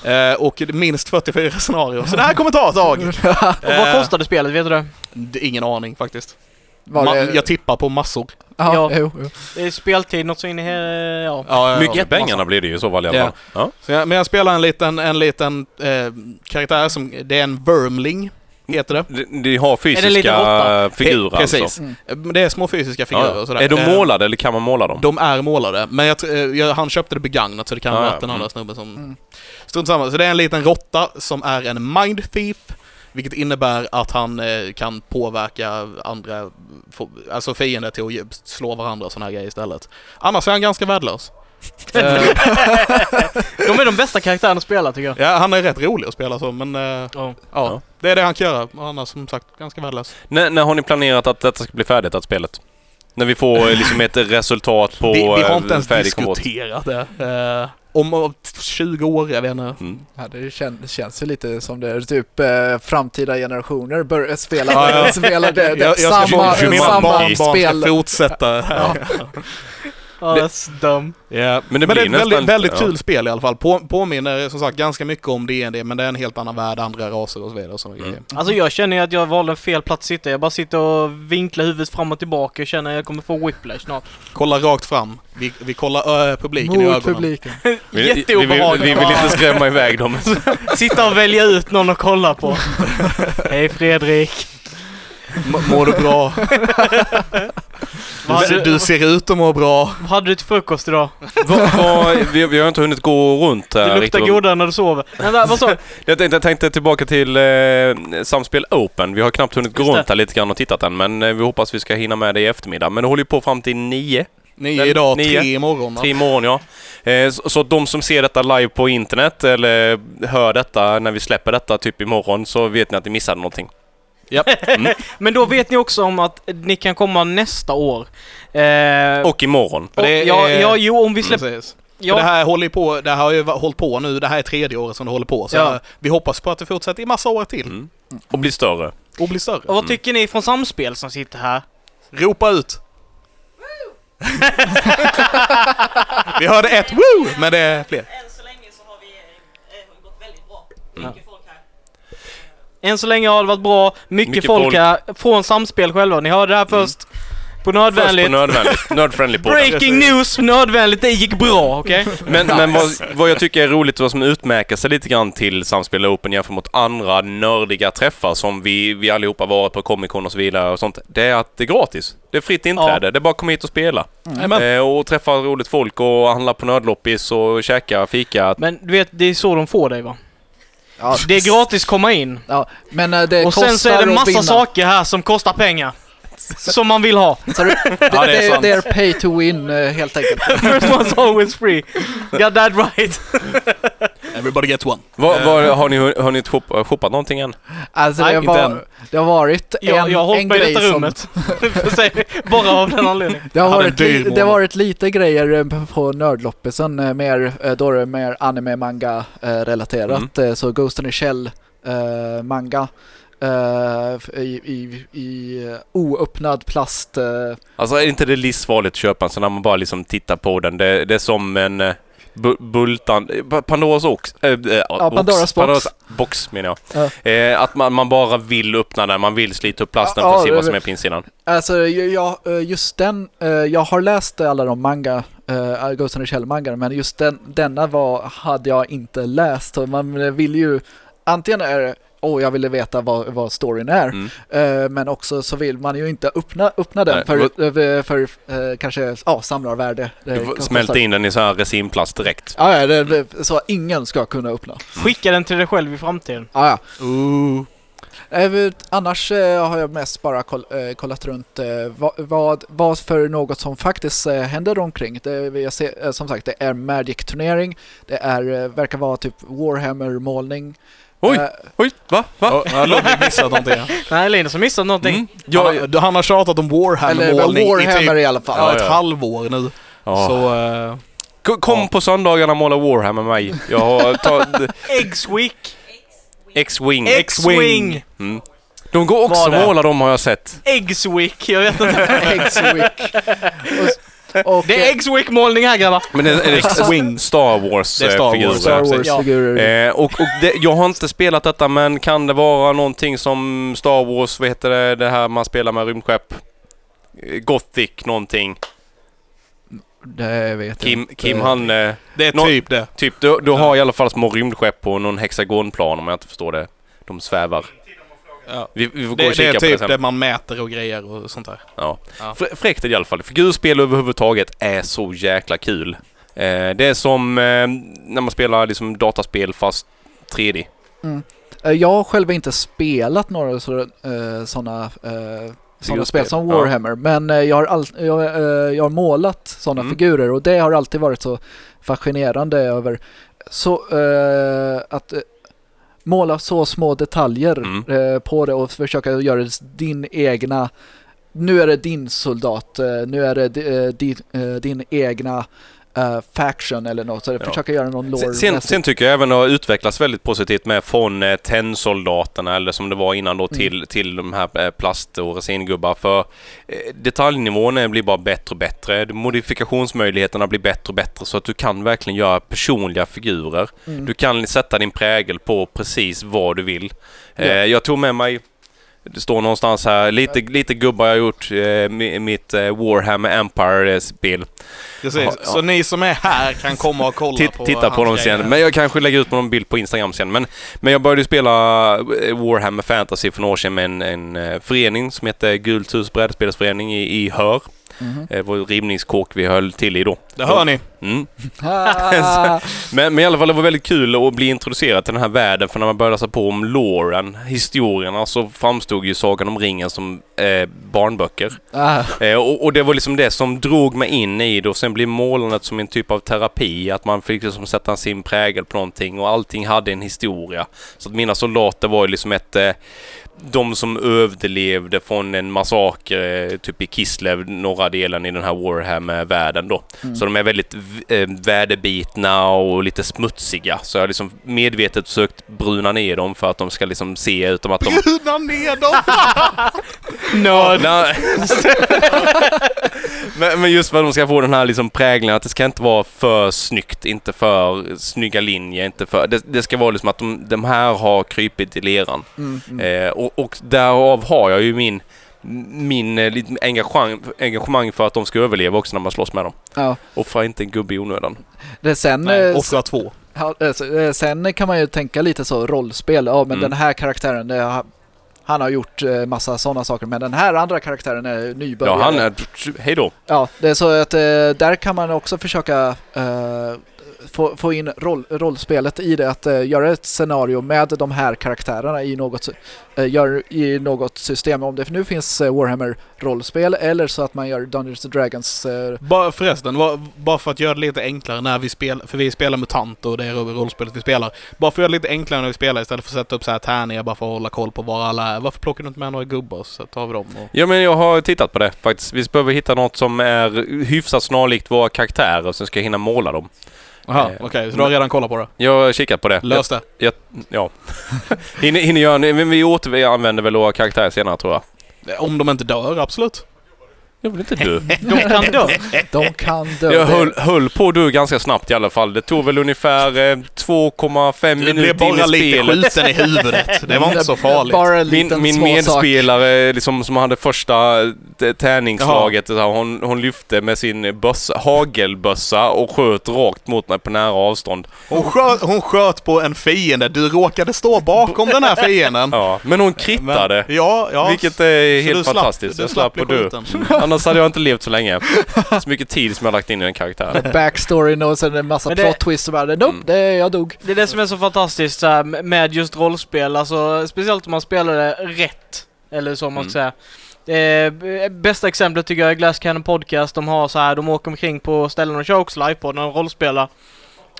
S1: Eh, och minst 44 scenarion. Så det här kommer ta ett tag. Eh,
S2: Och
S3: eh.
S2: vad kostade spelet, vet du det?
S1: det? Ingen aning faktiskt.
S4: Var
S1: Ma-
S4: det-
S1: Jag tippar på massor.
S4: ja,
S2: ja.
S4: Jo, jo.
S2: Det är speltid, något så in i här, ja. [laughs]
S1: Ja, ja, ja.
S3: Mycket pengarna blir det ju i så fall i alla
S1: eh, Ja.
S3: fall. Ja.
S1: Så jag, men jag spelar en liten, en liten eh, karaktär som, det är en Wormling, heter det.
S3: De, de har
S2: Är det lite
S3: fysiska eh,
S2: råtta?
S3: figurer
S1: Pe- Precis.
S3: alltså.
S4: Mm.
S1: Eh, men Det är små fysiska figurer och
S3: Ja.
S1: sådär.
S3: Är de
S1: Eh,
S3: målade eller kan man måla dem?
S1: De är målade, men jag, tr- eh, jag, han köpte det begagnat så det kan
S3: Ah,
S1: ha
S3: ja.
S1: varit den andra
S3: Mm.
S1: snubben som...
S4: Mm.
S1: Strunt samma. Så det är en liten råtta som är en mind thief, vilket innebär att han eh, kan påverka andra, få, alltså fiender till att ge- slå varandra och sådana här grejer istället. Annars är han ganska värdelös. Eh,
S2: De är de bästa karaktärerna att spela tycker jag.
S1: ja, han är rätt rolig att spela så, men eh, ja.
S2: Ja.
S3: Ja.
S1: Det är det han kan göra. Annars som sagt, ganska värdelös.
S3: När, när har ni planerat att detta ska bli färdigt, att spelet? När vi får eh, liksom ett resultat på
S1: vi, vi har
S3: eh,
S1: inte ens
S3: färdig kompott.
S1: diskuterat det. Eh, om, om 20 år, jag vet inte.
S3: Mm.
S4: Ja, det kän- känns ju lite som det är typ eh, framtida generationer bör eh, [laughs] spela,
S1: [laughs] Ja, ja.
S4: spelar det, det,
S1: Jag, jag ska,
S4: samma,
S3: ju- ju-
S1: mina
S4: samma
S1: barnbarn
S4: spel.
S1: ska fortsätta. Ja.
S2: Ja,
S3: Det-
S2: that's dumb.
S1: Men
S3: Men
S1: det,
S3: det
S1: men det är
S3: blir
S1: ett väldigt,
S3: nästan-
S1: väldigt
S3: ja.
S1: kul spel i alla fall. På, påminner som sagt ganska mycket om D&D men det är en helt annan värld, andra raser och så vidare. Och såna
S3: Mm.
S1: grejer.
S2: Alltså jag känner ju att jag valde fel plats att sitta. Jag bara sitter och vinklar huvudet fram och tillbaka och känner att jag kommer få whiplash snart.
S1: Kolla rakt fram. Vi, vi kollar ö, publiken i
S4: Mot
S1: ögonen.
S4: publiken.
S3: Vi, vi, vi,
S2: Jätteobehagligt.
S3: vi vill inte skrämma iväg dem.
S2: Sitta och välja ut någon att kolla på. Hej Fredrik.
S1: M- Mår du [laughs] bra?
S2: Vad
S1: Du,
S2: hade,
S1: du ser ut att må bra.
S2: vad hade du till frukost idag?
S3: [laughs] Vad- vad- vi, vi har inte hunnit gå runt här.
S2: Det luktar
S3: riktigt.
S2: godare när du sover. Vänta, vad sa du?
S3: Jag tänkte, jag tänkte tillbaka till eh, Samspel Open. Vi har knappt hunnit gå
S2: Just det.
S3: runt här lite grann och tittat än, men eh, vi hoppas vi ska hinna med det i eftermiddag. Men det håller ju på fram till nio,
S1: Nio
S3: Den-
S1: idag,
S3: nio.
S1: tre imorgon.
S3: tre imorgon ja. Eh, så, så att de som ser detta live på internet eller hör detta när vi släpper detta typ imorgon så vet ni att ni missade någonting.
S2: Men då vet ni också om att ni kan komma nästa år. Eh,
S3: Och imorgon.
S1: och det
S2: ja,
S1: är-
S2: ja, jo om vi släpper...
S1: Mm, Precis. För
S2: Ja,
S1: Det här håller ju på, det här har ju va- hållit på nu, det här är tredje året som det håller på. Så
S2: Ja.
S1: eh, vi hoppas på att det fortsätter i massa år till
S3: Mm. Och blir större.
S1: och blir större.
S2: och vad tycker ni från Samspel som sitter här?
S1: Ropa ut! [laughs] vi hörde ett woo, men det är fler.
S5: Än så länge så har vi eh, gått väldigt bra.
S1: Mm.
S5: Mycket folk här.
S2: Än så länge har det varit bra. Mycket,
S3: Mycket
S2: folk,
S3: folk.
S2: här från Samspel själva. Ni hörde det här
S1: Mm.
S2: först. På
S3: Först
S2: nödvändigt.
S3: på nödvändigt. Nördfriendly podden.
S2: Breaking news! Nödvändigt, det gick bra, okej?
S1: [laughs]
S3: Men, men vad, vad jag tycker är roligt och vad som utmärker sig lite grann till Samspel Open jämfört mot andra nördiga träffar som vi, vi allihopa varit på Comic Con och så vidare och sånt. Det är att det är gratis. Det är fritt inträde. Det är bara att komma hit och spela.
S1: Amen.
S3: Eh, och träffa roligt folk och handla på nödloppis och käka, fika.
S2: Men du vet, det är så de får dig va?
S4: Ja,
S2: Det är gratis att komma in.
S4: ja, men eh, det
S2: Och
S4: kostar
S2: sen så är det
S4: att vinna.
S2: massa saker här som kostar pengar. Som man vill ha. [laughs]
S4: Så det, det,
S3: Ja, det är
S4: det, är
S3: sant.
S4: det är pay to win eh, helt enkelt.
S2: First one's always free. Got that right.
S1: Eh, Everybody gets one.
S3: Vad- vad- har ni har ni shop- shoppat någonting än?
S4: Alltså
S2: Nej,
S4: det,
S3: inte
S4: var,
S3: än.
S4: det har varit
S2: Jag,
S4: en,
S2: jag har hållit
S4: en
S2: mig i
S4: grej
S2: detta rummet. [laughs] För sig, Bara av den anledningen.
S4: som... Det har,
S1: hade en
S4: varit
S1: dyr
S4: li, det har
S1: månad.
S4: varit lite grejer eh, på nördloppisen, eh, mer, eh, då är det mer anime, manga eh, relaterat. Eh, Så Ghost in the Shell eh, manga eh, f- i, i, i eh, oöppnad plast. Eh,
S3: Alltså är inte det livsfarligt att köpa en sån när man bara liksom tittar på den? Det, det är som en eh, bu- bultan... eh, Pa- Pandoras ox. Äh,
S4: Ja, Pandoras box.
S3: Pandoras box menar jag. Eh, att man, man bara vill öppna den, man vill slita upp plasten
S4: Ja,
S3: för
S4: ja,
S3: att se
S4: det-
S3: vad som är på insidan.
S4: Alltså jag, jag, eh, just den, eh, jag har läst alla de manga, eh, Ghost in the Shell manga, men just den, denna var, hade jag inte läst. Och Man vill ju, antingen är det, åh jag ville veta vad, vad storyn är,
S3: Mm.
S4: Eh, Men också så vill man ju inte öppna, öppna den
S3: Nej,
S4: för, eh, för, eh, kanske ja, samlarvärde. Det
S3: Du får
S4: kostar
S3: smälta
S4: så-
S3: in den i så här resinplast direkt.
S4: Ja, ja, det, så ingen ska kunna öppna.
S2: Skicka den till dig själv i framtiden.
S4: Ja, ja.
S1: Ooh.
S4: Eh, men Annars eh, har jag mest bara koll, eh, kollat runt eh, vad, vad, vad för något som faktiskt eh, händer omkring. Det, vill jag se, eh, som sagt, det är Magic-turnering. Det är, eh, verkar vara typ Warhammer-målning.
S3: Oj.
S4: Eh,
S3: Oj, va? Va?
S1: Ja, Jag har aldrig missat
S3: [laughs]
S1: någonting.
S2: Nej, Linus har missat någonting.
S3: Mm.
S1: Han,
S3: Jag,
S1: har- han har tjatat om
S4: eller
S1: Warhammer-målning i typ
S4: Warhammer i alla fall.
S1: ja,
S3: Ja,
S1: ett
S3: ja.
S1: halvår nu.
S3: ja.
S1: Så... eh,
S3: Ko- Kom på söndagarna och måla Warhammer med mig. Jag har
S4: [laughs]
S3: tagit
S2: X-Week.
S3: X-Wing.
S2: X-Wing.
S3: Mm. De går också
S2: Var det?
S3: måla de har jag sett.
S4: [laughs]
S2: Eggswick. Jag vet inte.
S4: Eggs Week. Och s- Och,
S2: Det är
S4: eh,
S2: Eggswick-målning här grabbar!
S3: Men är, är det
S1: X-Wing.
S3: Star Wars
S1: Det är Star
S3: eh, figurer?
S1: Wars,
S4: Star
S3: precis.
S4: Wars-figurer.
S3: Eh, och, och det, jag har inte spelat detta men kan det vara någonting som Star Wars, vad heter det, det här man spelar med rymdskepp? Eh, Gothic någonting.
S4: Det vet jag
S3: Kim,
S1: Typ,
S4: inte.
S3: Kim han, eh,
S1: Det är
S3: Nå-
S1: typ det.
S3: typ, du, du har i alla fall små rymdskepp på någon hexagonplan om jag inte förstår det. De svävar.
S1: Ja.
S3: Vi, vi får gå och
S1: Det, det
S3: kika
S1: är
S3: på det
S1: typ
S3: sen.
S1: det man mäter och grejer och sånt där.
S3: Ja.
S1: Ja.
S3: Fr- Fräckt i alla fall. Figurspel överhuvudtaget är så jäkla kul. Eh, det är som eh, när man spelar liksom dataspel fast 3D.
S4: Eh, Jag har själv inte spelat några sådana eh, såna spel som
S3: Ja.
S4: Warhammer, men eh, jag har, all, jag, eh, jag har målat sådana
S3: Mm.
S4: figurer och det har alltid varit så fascinerande över så, eh, att eh, måla så små detaljer
S3: Mm.
S4: eh, på det och försöka göra din egna nu är det din soldat, eh, nu är det di- eh, di, eh, din egna eh, faction eller något. Så
S3: Ja.
S4: försöka göra någon lore.
S3: Sen, sen, sen tycker jag även det har utvecklats väldigt positivt med från eh, tennsoldaterna eller som det var innan
S4: Mm.
S3: då till, till de här eh, plast och resingubbar. För eh, detaljnivån eh, blir bara bättre och bättre. Modifikationsmöjligheterna blir bättre och bättre så att du kan verkligen göra personliga figurer.
S4: Mm.
S3: Du kan sätta din prägel på precis vad du vill.
S4: Ja.
S3: Eh, jag tog med mig, det står någonstans här, lite, lite gubbar jag har gjort eh, mi- mitt eh, Warhammer Empire-spel.
S1: Precis.
S3: Ja, ja.
S1: Så ni som är här kan komma och kolla
S3: Titt,
S1: på
S3: titta på
S1: hans
S3: dem
S1: grejer.
S3: sen. Men jag kanske lägger ut någon bild på Instagram sen. Men, men jag började ju spela eh, Warhammer Fantasy för några år sedan med en, en eh, förening som heter Gult hus brädspelsförening i, i Hör.
S4: Mhm.
S3: Det var ju rivningskåk vi höll till i då.
S1: Det hör ni.
S3: Mm.
S4: [laughs]
S3: [laughs]
S4: Ah.
S3: Men, men i alla fall, det var väldigt kul att bli introducerad till den här världen för när man började läsa på om loren, historierna, så framstod ju Sagan om ringen som eh, barnböcker.
S4: Ah.
S3: Eh, och, och det var liksom det som drog mig in i det och sen blev målandet som en typ av terapi, att man fick liksom sätta sin prägel på någonting och allting hade en historia. Så att mina soldater var ju liksom ett eh, de som överlevde från en massaker, eh, typ i Kislev, norra delen i den här Warhammer-världen då.
S4: Mm.
S3: Så de är väldigt v- eh, väderbitna och lite smutsiga. Så jag har liksom medvetet försökt bruna ner dem för att de ska liksom se utom att de...
S1: Bruna ner dem!
S2: Nörd!
S3: Nej. men, men just för att de ska få den här liksom prägeln att det ska inte vara för snyggt, inte för snygga linjer, inte för... Det, det ska vara liksom att de, de här har krypit i leran.
S4: Mm, mm.
S3: Eh, och, och därav har jag ju min, min eh, lite engagemang, engagemang för att de ska överleva också när man slåss med dem.
S4: Ja.
S3: Offra inte en gubbe i onödan.
S4: Det sen,
S1: Nej,
S4: eh,
S1: offra två.
S4: ha- eh, så- eh, sen kan man ju tänka lite så rollspel. Ja, men
S3: Mm.
S4: den här karaktären, eh, ha- han har gjort eh, massa sådana saker. Men den här andra karaktären är nybörjare.
S3: Ja, han är... Hej då.
S4: Ja, det är så att eh, där kan man också försöka eh, få, få in roll, rollspelet i det. Att eh, göra ett scenario med de här karaktärerna i något, eh, gör, i något system. Om det nu finns eh, Warhammer-rollspel eller så att man gör Dungeons and Dragons eh,
S1: Bara, förresten, va- bara för att göra det lite enklare när vi spelar, för vi spelar MUTANT och det är rollspelet vi spelar. Bara för att göra det lite enklare när vi spelar istället för att sätta upp så här tärningar bara för att hålla koll på var alla är. Varför plockar du inte med några gubbar så tar vi dem och...
S3: Ja, men jag har tittat på det faktiskt. Vi behöver hitta något som är hyfsat snarlikt våra karaktärer och sen ska jag hinna måla dem.
S1: Jaha,
S3: Eh,
S1: okej, så du har redan kollat på det?
S3: Jag har kikat på det.
S1: Lös det.
S3: Ja. hinner, hinner göra... Men vi återanvänder väl våra karaktärer senare tror jag.
S1: Om de inte dör, absolut.
S3: Jag vill inte dö.
S2: [laughs] De kan dö!
S4: De kan dö.
S3: Eh, Jag höll, höll på att dö ganska snabbt i alla fall. Det tog väl ungefär eh, 2,5
S1: Du
S3: minuter
S1: blev
S3: in i
S1: bara lite
S3: spelet.
S1: skjuten i
S3: [laughs]
S1: huvudet. Det var inte så farligt.
S4: Bara en
S3: Min,
S4: liten
S3: min
S4: småsak. [laughs]
S3: medspelare liksom, som hade första eh, tärningsslaget, så här, hon, hon lyfte med sin bössa, hagelbössa och sköt rakt mot mig på nära avstånd.
S1: Hon sköt, hon sköt på en fiende. Du råkade stå bakom den här fienden.
S3: Ja. Men hon
S1: Men-
S3: krittade,
S1: Ja, ja.
S3: vilket
S1: Så
S3: är
S1: du
S3: helt
S1: slapp-
S3: fantastiskt.
S1: du
S3: Jag slapp
S1: bli
S3: att dö.
S1: skjuten.
S3: Annars hade jag inte levt så länge. Så mycket tid som jag lagt in i den karaktären.
S4: Backstoryn och sen en massa
S2: Men det-
S4: plot twists och bara nope,
S3: Mm.
S4: det, jag dog.
S2: Det är det som är så fantastiskt så här, med just rollspel, alltså speciellt om man spelar det rätt. Eller så om man ska säga. Eh, b- bästa exemplet tycker jag är Glass Cannon Podcast. De har så här, de åker omkring på ställen och kör också livepodden när de rollspelar.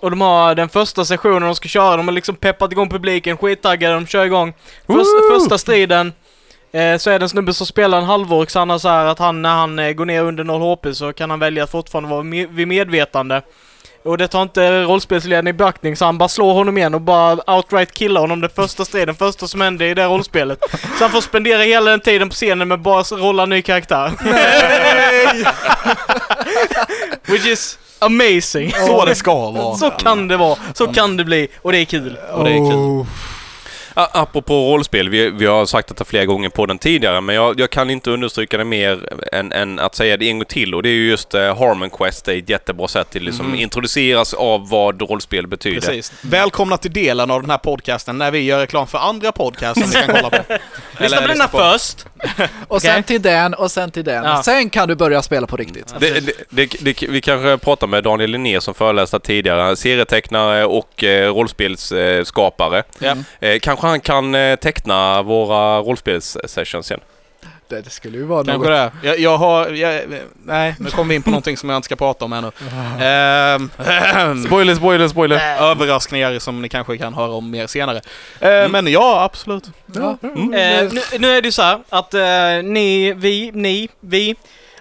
S2: Och de har den första sessionen de ska köra, de har liksom peppat igång publiken, skittaggade, de kör igång. Först, första striden eh, så är det en snubbe som spelar en halvork, så han har så här att han, när han eh, går ner under 0 HP så kan han välja att fortfarande vara med, vid medvetande. Och det tar inte rollspelsledaren i beaktning så han bara slår honom igen och bara outright killar honom den första striden, första som hände i det rollspelet. Så han får spendera hela den tiden på scenen med bara att rolla ny karaktär. nej! Which is amazing.
S1: [laughs] Så det ska vara.
S2: Så kan det vara, så kan det bli och det är kul.
S1: Och det är kul.
S3: A- Apropå rollspel, vi, vi har sagt detta flera gånger på den tidigare, men jag, jag kan inte understryka det mer än, än att säga det en gång till och det är ju just eh, Harmon Quest, det är ett jättebra sätt till liksom introduceras av vad rollspel betyder.
S1: Mm. Precis. Välkomna till delen av den här podcasten när vi gör reklam för andra podcasts som ni kan kolla på.
S2: Lyssna på denna först.
S4: Och
S2: Okej.
S4: sen till den och sen till den.
S2: Ja. Mm.
S4: Sen kan du börja spela på riktigt.
S3: Det, det, det, det, vi kanske pratar med Daniel Linné som föreläste tidigare, serietecknare och eh, rollspelsskapare.
S1: Ja.
S3: Eh, kanske han kan eh, teckna våra rollspelssessions igen.
S4: Det, det skulle ju vara
S1: Kanske
S4: något.
S1: det. Jag, jag har... Jag, nej, nu kommer vi in på någonting som jag inte ska prata om ännu. Ehm, spoiler, spoiler, spoiler. Överraskningar som ni kanske kan höra om mer senare. Ehm, Men ja, absolut.
S4: Ja.
S3: Mm.
S4: Mm.
S2: Eh, nu, nu är det ju så här att eh, ni, vi, ni, vi,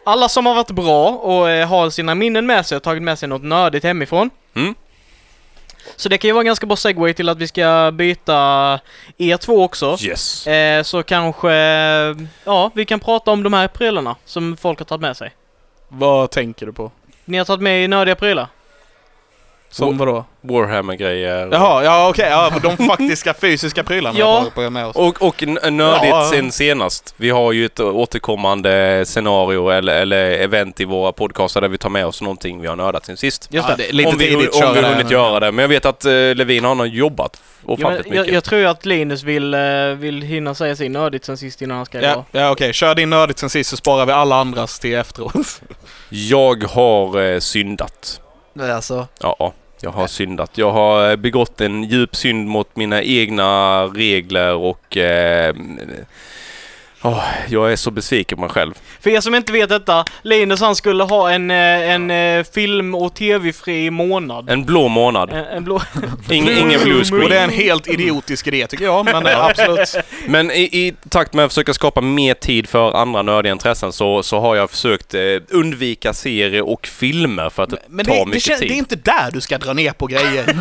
S2: alla som har varit bra och eh, har sina minnen med sig och tagit med sig något nördigt hemifrån.
S3: Mm.
S2: Så det kan ju vara en ganska bra segway till att vi ska byta er två också.
S3: Yes.
S2: Eh, så kanske, ja, vi kan prata om de här prylarna som folk har tagit med sig.
S1: Vad tänker du på?
S2: Ni har tagit med er nördiga prylar?
S1: Som vadå?
S3: Warhammer-grejer.
S1: Jaha, ja okej. ja, de faktiska fysiska prylarna
S2: Ja.
S1: vi har tagit med oss.
S3: Och, och n- nördigt
S1: Ja.
S3: sen senast. Vi har ju ett återkommande scenario eller, eller event i våra podcaster där vi tar med oss någonting vi har nördat sen sist.
S2: Just
S1: Ja,
S2: det.
S1: är lite
S3: om vi,
S1: tidigt
S3: om
S1: köra
S3: vi
S1: det här
S3: hunnit
S1: nu.
S3: göra det. Men jag vet att eh, Levin han har jobbat
S2: Ja, men
S3: ofantligt
S2: jag,
S3: mycket.
S2: jag tror ju att Linus vill, eh, vill hinna säga sin nördigt sen sist innan han ska
S1: Ja,
S2: gå.
S1: ja okej. Kör din nördigt sen sist så sparar vi alla andras till efteråt.
S3: Jag, har eh, syndat.
S4: Men Alltså,
S3: Ja, ja, jag har syndat. Jag har eh, begått en djup synd mot mina egna regler och... Eh, mm, åh, jag är så besviken på mig själv.
S2: För er som inte vet detta, Linus han skulle ha en, eh, en eh, film och tv-fri månad. Eh,
S3: En blå månad.
S2: En, en blå...
S3: Ing, ingen blue screen.
S1: Och det är en helt idiotisk idé tycker jag, men
S3: [laughs]
S1: eh, absolut.
S3: Men i, i takt med att försöka skapa mer tid för andra nördiga intressen så, så har jag försökt eh, undvika serier och filmer för att
S1: Men
S3: ta
S1: det, det,
S3: mycket
S1: kän-
S3: tid.
S1: det är inte där du ska dra ner på
S3: [laughs]
S1: grejer.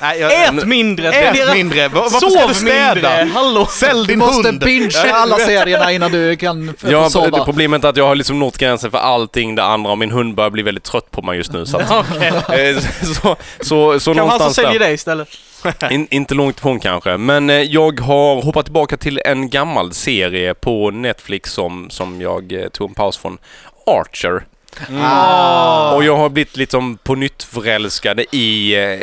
S1: Nej, jag,
S3: eh,
S2: Ät mindre! Det är
S1: ät
S2: deras-
S1: mindre! Va- Varför ska du
S2: Sov mindre!
S1: städa?
S2: Hallå!
S1: Sälj
S4: du
S1: din
S4: måste
S1: hund!
S3: [laughs]
S4: binge alla serierna innan du kan f-
S3: Ja,
S4: få sova.
S3: det problemet är att jag har liksom nått gränsen för allting det andra och min hund börjar bli väldigt trött på mig just nu. Så, att,
S2: Okej. alltså
S3: eh, så, så, så
S2: Kanske han som
S3: någonstans
S2: säljer
S3: där.
S2: dig istället.
S3: [laughs] In, inte långt ifrån kanske, men eh, jag har hoppat tillbaka till en gammal serie på Netflix som, som jag eh, tog en paus från. Archer.
S2: Mm.
S4: Ah.
S3: Och jag har blivit liksom på nytt förälskad i eh,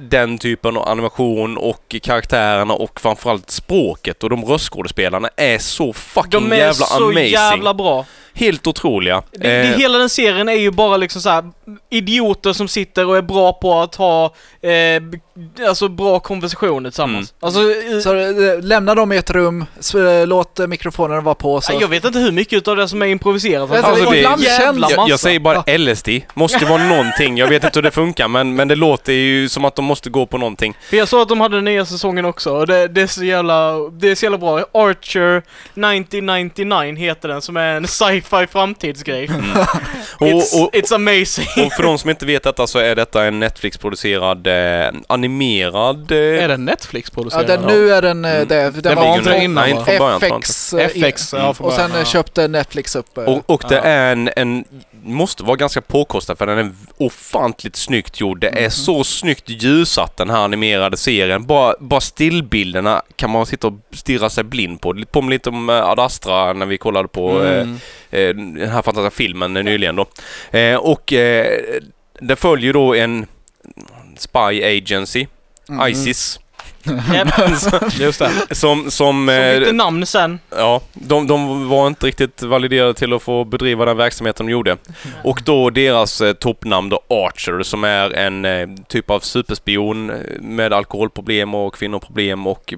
S3: den typen av animation och karaktärerna och framförallt språket och de röstskådespelarna är så fucking
S2: De är
S3: jävla
S2: så
S3: amazing.
S2: jävla bra.
S3: Helt otroliga.
S2: Det, det,
S3: Eh,
S2: hela den serien är ju bara liksom så här idioter som sitter och är bra på att ha eh, b- alltså bra konversationer tillsammans.
S3: Mm.
S2: Alltså, eh,
S4: Så eh, lämna dem i ett rum, s- eh, låt eh, mikrofonerna vara på. Så.
S2: jag vet inte hur mycket av det som är improviserat.
S4: Alltså,
S3: Alltså, det-
S4: ibland
S2: jävla
S4: känns
S3: jag, jag säger bara
S4: Ja.
S3: LSD. Måste vara någonting. Jag vet inte hur det funkar men, men det låter ju som att de måste gå på någonting.
S2: För jag såg att de hade den nya säsongen också och det, det är så jävla, det är så jävla bra. Archer 1999 heter den som är en sci-fi
S3: [laughs]
S2: framtidsgrej.
S3: Och,
S2: it's,
S3: och,
S2: it's
S3: [laughs]
S2: amazing.
S3: och för de som inte vet detta så är detta en Netflix-producerad eh, animerad... Eh,
S1: Är det Netflix
S4: Ja,
S1: producerad?
S4: den, nu är den... eh,
S3: Mm.
S4: Det, den,
S3: den
S4: var
S3: ligger
S1: inte
S3: nu-
S1: innan,
S3: nej,
S1: va?
S3: inte från början, tror jag inte.
S4: FX. eh,
S1: FX, ja,
S4: Och sen eh, köpte Netflix upp... eh,
S3: Och, och det
S1: Ja.
S3: är en, en, måste vara ganska påkostad för den är ofantligt snyggt gjord. Det är så snyggt ljusat den här animerade serien. Bara, bara stillbilderna kan man sitta och stirra sig blind på. Det påminner lite om eh, Ad Astra när vi kollade på
S1: Mm.
S3: eh, eh, den här fantastiska filmen nyligen då. Eh, och eh, det följer då en Spy Agency,
S4: Mm.
S3: ISIS,
S2: Japp,
S1: Just det.
S3: som... som
S2: som
S3: eh,
S2: bytte namn sen.
S3: Ja, de, de var inte riktigt validerade till att få bedriva den verksamhet de gjorde. Och då deras eh, toppnamn då Archer som är en eh, typ av superspion eh, med alkoholproblem och kvinnoproblem och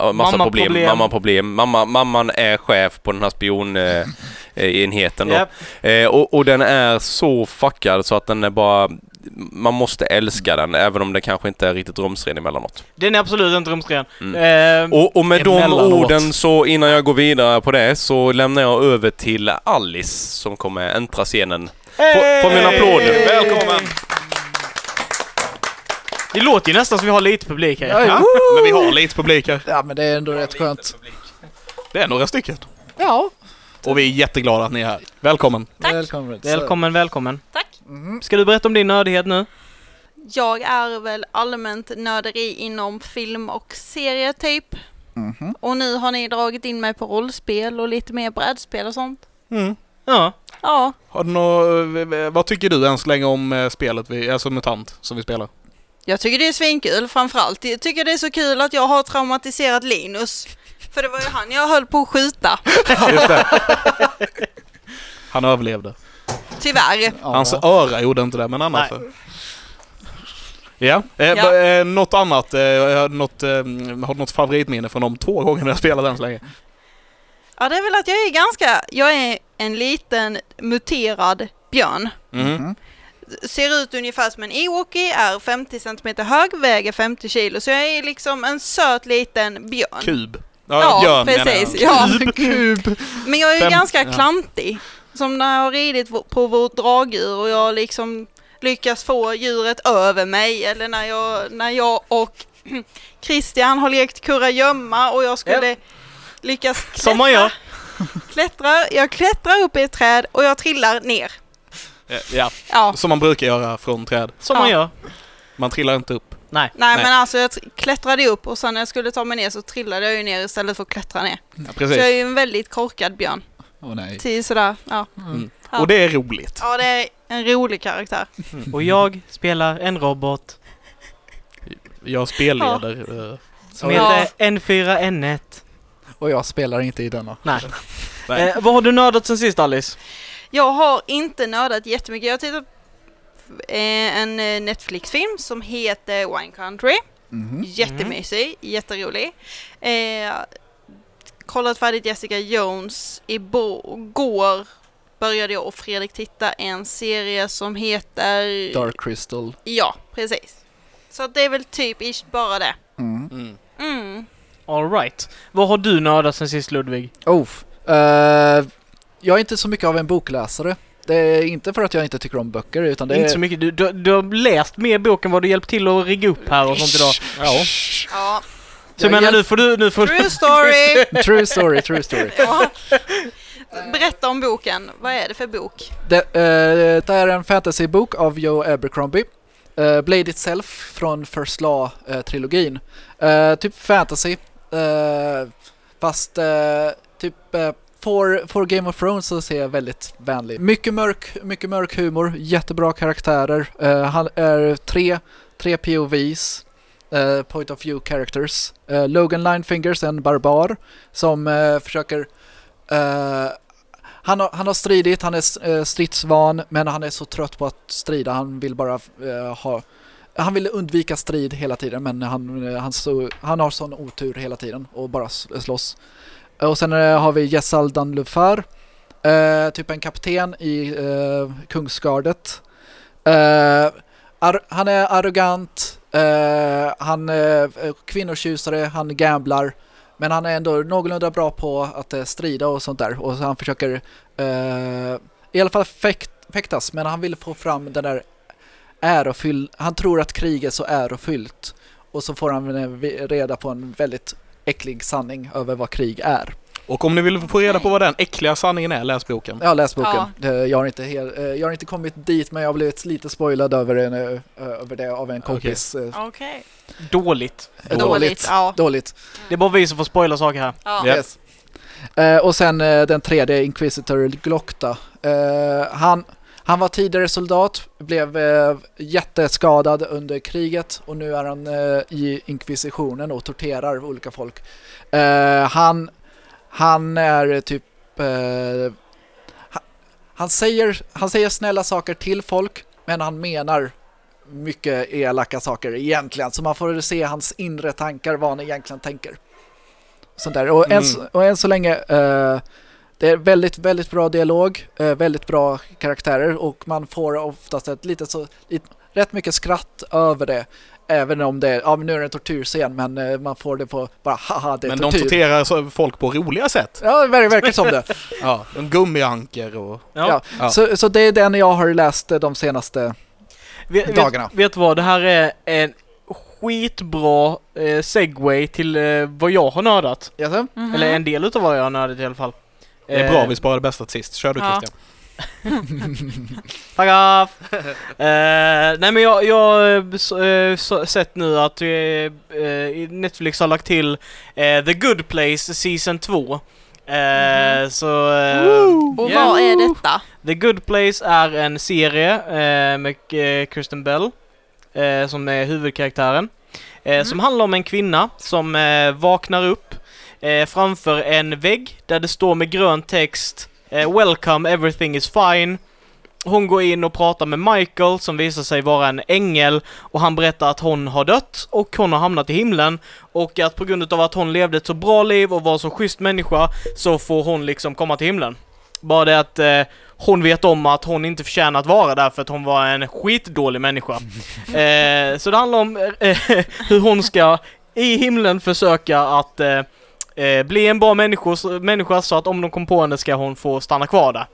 S3: eh, massa
S2: Mammaproblem.
S3: problem. Mammaproblem. Mamma, mamman är chef på den här spionenheten eh, eh, enheten då.
S2: Japp.
S3: Eh, och, och den är så fuckad så att den är bara man måste älska den även om den kanske inte är riktigt rumsren emellanåt.
S2: Den är absolut inte rumsren.
S3: Mm.
S2: Eh,
S3: Och, och med de
S1: Emellanåt.
S3: orden så innan jag går vidare på det så lämnar jag över till Alice som kommer äntra scenen. Få- få min applåd.
S2: Hey!
S1: Välkommen!
S2: Det låter ju nästan som vi har lite publik här.
S4: Ja,
S1: Ja,
S4: jo.
S1: men vi har lite publik här.
S4: ja, men det är ändå rätt skönt.
S1: Det är några stycken.
S4: Ja,
S1: Och vi är jätteglada att ni är här. Välkommen!
S5: Tack.
S4: Välkommen. Så-
S2: Välkommen, välkommen.
S5: Tack.
S4: Mhm.
S2: Ska du berätta om din nördighet nu?
S5: Jag är väl allmänt nörderi inom film och serie typ.
S4: Mhm.
S5: Och nu har ni dragit in mig på rollspel och lite mer brädspel och sånt.
S2: Ja.
S5: Ja,
S1: Har du nå, vad tycker du än så länge om eh, spelet, vi, alltså MUTANT, som vi spelar?
S5: jag tycker det är svinkul framförallt. Jag tycker det är så kul att jag har traumatiserat Linus. För det var ju han jag höll på att skjuta.
S1: Just det. Han överlevde.
S5: Tyvärr.
S4: Ja.
S1: Hans öra gjorde inte det, men annars så. Ja, eh,
S5: Ja.
S1: va- eh, något annat? Eh, har du något, eh, har du något favoritminne från de två gångerna jag spelat än så länge?
S5: Ja, det är väl att jag är ganska... Jag är en liten muterad björn.
S1: Mhm.
S4: Mhm.
S5: ser ut ungefär som en Ewokie, är 50 cm hög, väger 50 kilo. Så jag är liksom en söt liten björn.
S1: Kub.
S5: Ja,
S1: björn menar jag.
S5: precis. Ja.
S1: Kub.
S5: Men jag är ju
S1: Fem-
S5: ganska
S1: ja.
S5: klantig. Som när jag har ridit v- på vårt dragdjur och jag liksom lyckas få djuret över mig. Eller när jag, när jag och [clears throat] Christian har lekt kurragömma och jag skulle lyckas klättra.
S2: Som man gör.
S5: klättra. Jag klättrar upp i ett träd och jag trillar ner.
S1: Eh, Ja,
S5: Ja.
S1: som man brukar göra från träd.
S2: Som
S5: Ja.
S2: man gör.
S1: Man trillar inte upp.
S2: Nej.
S5: Nej,
S1: Nej.
S5: men alltså jag tr- klättrade upp och sen när jag skulle ta mig ner så trillade jag ju ner istället för att klättra ner.
S1: Ja,
S5: Så jag är
S1: precis.
S5: ju en väldigt korkad björn.
S4: Åh, nej.
S5: Till sådär, ja.
S1: Och det är roligt.
S5: Ja, det är en rolig karaktär.
S2: Och jag spelar en robot
S1: Jag spelleder. eh,
S2: som
S5: Ja.
S2: heter N4N1.
S4: Och jag spelar inte i denna.
S2: Nej.
S1: Nej.
S2: Eh, vad har du nördat sen sist Alice?
S5: Jag har inte nördat jättemycket. Jag tittar på eh, en eh, Netflix-film som heter Wine Country.
S4: Mhm.
S5: Mm. Jättemysig, jätterolig. Eh, kollat färdigt Jessica Jones igår. Började jag och Fredrik titta en serie som heter...
S4: Dark Crystal.
S5: Ja, precis. Så det är väl typ ish bara det.
S4: Mm.
S1: Mm.
S5: Mm.
S2: All right. Vad har du nördat sen sist Ludvig?
S4: Oh, eh, jag är inte så mycket av en bokläsare. Det är inte för att jag inte tycker om böcker utan det är...
S2: Inte så mycket. Du, du, du har läst mer bok än vad du hjälpt till att rigga upp här och sånt idag. [laughs]
S1: Ja.
S5: Ja,
S2: Så jag
S4: Jag
S2: menar
S4: hjälp-
S2: nu får du... Nu får du...
S5: [laughs] true [laughs] story!
S4: True story, true story.
S5: Ja. Berätta om boken. Vad är det för bok?
S4: Det, eh, det är en fantasybok av Joe Abercrombie. Eh, Blade Itself från First Law-trilogin. typ fantasy. eh, fast eh, typ eh, för, för Game of Thrones så ser jag väldigt vänlig. Mycket mörk, mycket mörk humor, jättebra karaktärer. Eh, han är tre, tre POVs. eh, point of view characters. Eh, Logan Linefingers, en barbar som eh, försöker eh, han har, han har stridit, han är eh, stridsvan, men han är så trött på att strida. Han vill bara eh, ha... Han vill undvika strid hela tiden, men han, eh, han, så, han har sån otur hela tiden och bara s- slåss. Och sen eh, har vi Jessal Danlufar, eh, typ en kapten i eh, Kungsgardet. Eh, ar- han är arrogant, eh, han är eh, kvinnotjusare, han gamblar. Men han är ändå någorlunda bra på att eh, strida och sånt där. Och så han försöker eh, i alla fall fäkt, fäktas, men han vill få fram den där ärofyll... Han tror att krig är så ärofyllt. Och så får han eh, vi- reda på en väldigt äcklig sanning över vad krig är.
S1: Och om ni vill få reda på vad den äckliga sanningen är, läs boken.
S4: Jag har läst boken.
S5: Ja.
S4: Det- Jag, har inte hel, eh, jag har inte kommit dit, men jag har blivit lite spoilad över, en, eh, över det av en kompis. eh,
S5: Okej.
S2: Dåligt.
S5: Dåligt. Ja.
S4: Dåligt.
S2: Det är bara vi som får spoila saker här.
S5: Ja.
S1: Ja.
S4: Yes. Eh, och sen eh, den tredje, Inquisitor Glockta. Eh, han, han var tidigare soldat, blev eh, jätteskadad under kriget och nu är han eh, i inkvisitionen och torterar olika folk. Eh, han, han är typ... Eh, ha- han, säger, han säger snälla saker till folk, men han menar mycket elaka saker egentligen. Så man får se hans inre tankar, vad han egentligen tänker. Sånt där. Och, än,
S1: Mm.
S4: så- och än så länge, eh, det är väldigt, väldigt bra dialog, eh, väldigt bra karaktärer och man får oftast ett lite så, lit- rätt mycket skratt över det. Även om det är, ja men nu är det en tortyrscen, men eh, man får det på bara haha det är
S1: Men de
S4: tortyr.
S1: torterar så- folk på roliga sätt.
S4: Ja, det ver- verkar som det.
S1: Ja, en gummianker och...
S2: Ja.
S4: Ja.
S1: Ja.
S4: Så, så det är den jag har läst eh, de senaste...
S2: Vet,
S4: Dagarna.
S2: Vet, vet du vad? Det här är en skitbra eh, segway till eh, vad jag har nördat.
S4: Jaså?
S5: Mhm.
S2: Eller en del utav vad jag har nördat i alla fall.
S1: Det är bra,
S2: Eh,
S1: vi sparar det bästa till sist. Kör du
S5: Ja.
S1: Christian.
S2: Fuck off! Eh, nej men jag jag eh, s- eh, så- sett nu att eh, eh, Netflix har lagt till eh, The Good Place Season 2. Eh, Så... eh,
S5: Mhm. Och
S2: yeah.
S5: vad är detta?
S2: The Good Place är en serie eh, med eh, Kristen Bell eh, som är huvudkaraktären. Eh,
S5: Mm.
S2: Som handlar om en kvinna som eh, vaknar upp eh, framför en vägg där det står med grön text eh, Welcome, everything is fine. Hon går in och pratar med Michael som visar sig vara en ängel och han berättar att hon har dött och hon har hamnat i himlen och att på grund av att hon levde ett så bra liv och var så schysst människa så får hon liksom komma till himlen. Bara det att eh, hon vet om att hon inte förtjänar att vara där för att hon var en skitdålig människa. Eh, så det handlar om eh, [laughs] hur hon ska i himlen försöka att eh, eh, bli en bra människa, människa så att om de kommer på henne ska hon få stanna kvar där.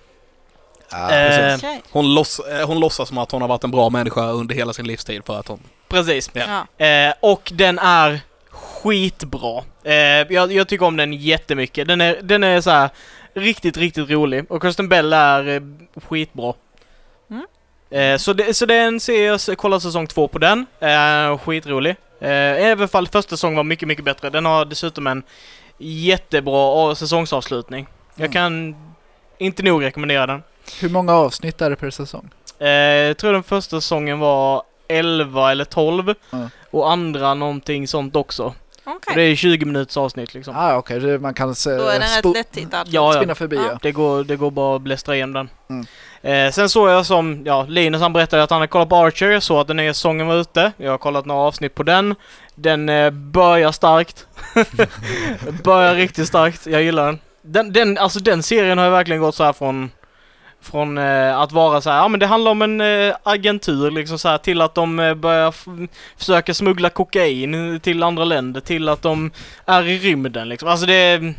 S1: precis.
S2: eh,
S5: Okej.
S1: Hon, låts, eh, hon låtsas som att hon har varit en bra människa under hela sin livstid för att hon...
S2: precis.
S1: ja.
S5: Ja.
S2: Eh, och den är skitbra. Eh, jag, jag tycker om den jättemycket. Den är, den är så här riktigt, riktigt rolig. Och Kristen Bell är eh, skitbra.
S5: Mm.
S2: Eh, så, det, så den ser jag, jag kollar säsong två på den. Eh, skitrolig. Eh, även fall första säsongen var mycket, mycket bättre. Den har dessutom en jättebra a- säsongsavslutning. Jag
S4: Mm.
S2: kan inte nog rekommendera den.
S4: Hur många avsnitt är det per säsong?
S2: Eh, jag tror den första säsongen var 11 eller 12.
S4: Mm.
S2: Och andra någonting sånt också.
S5: Okej.
S2: Och det är 20 minuters avsnitt liksom.
S4: Ah, Okej, det- man kan se,
S5: Då är den rätt
S4: spo-
S5: lättittad.
S2: Ja, ja.
S4: spinna förbi. Ja.
S2: Det går, det går bara att blästra igenom den.
S4: Mm.
S2: Eh, sen såg jag som, ja, Linus han berättade att han har kollat på Archer, jag såg att den nya säsongen var ute. Jag har kollat några avsnitt på den. Den eh, börjar starkt. [laughs] börjar riktigt starkt, jag gillar den. Den, den. Alltså den serien har ju verkligen gått så här från från eh, att vara så här, ja men det handlar om en eh, agentur liksom så här, till att de eh, börjar f- försöka smuggla kokain till andra länder, till att de är i rymden liksom. Alltså det är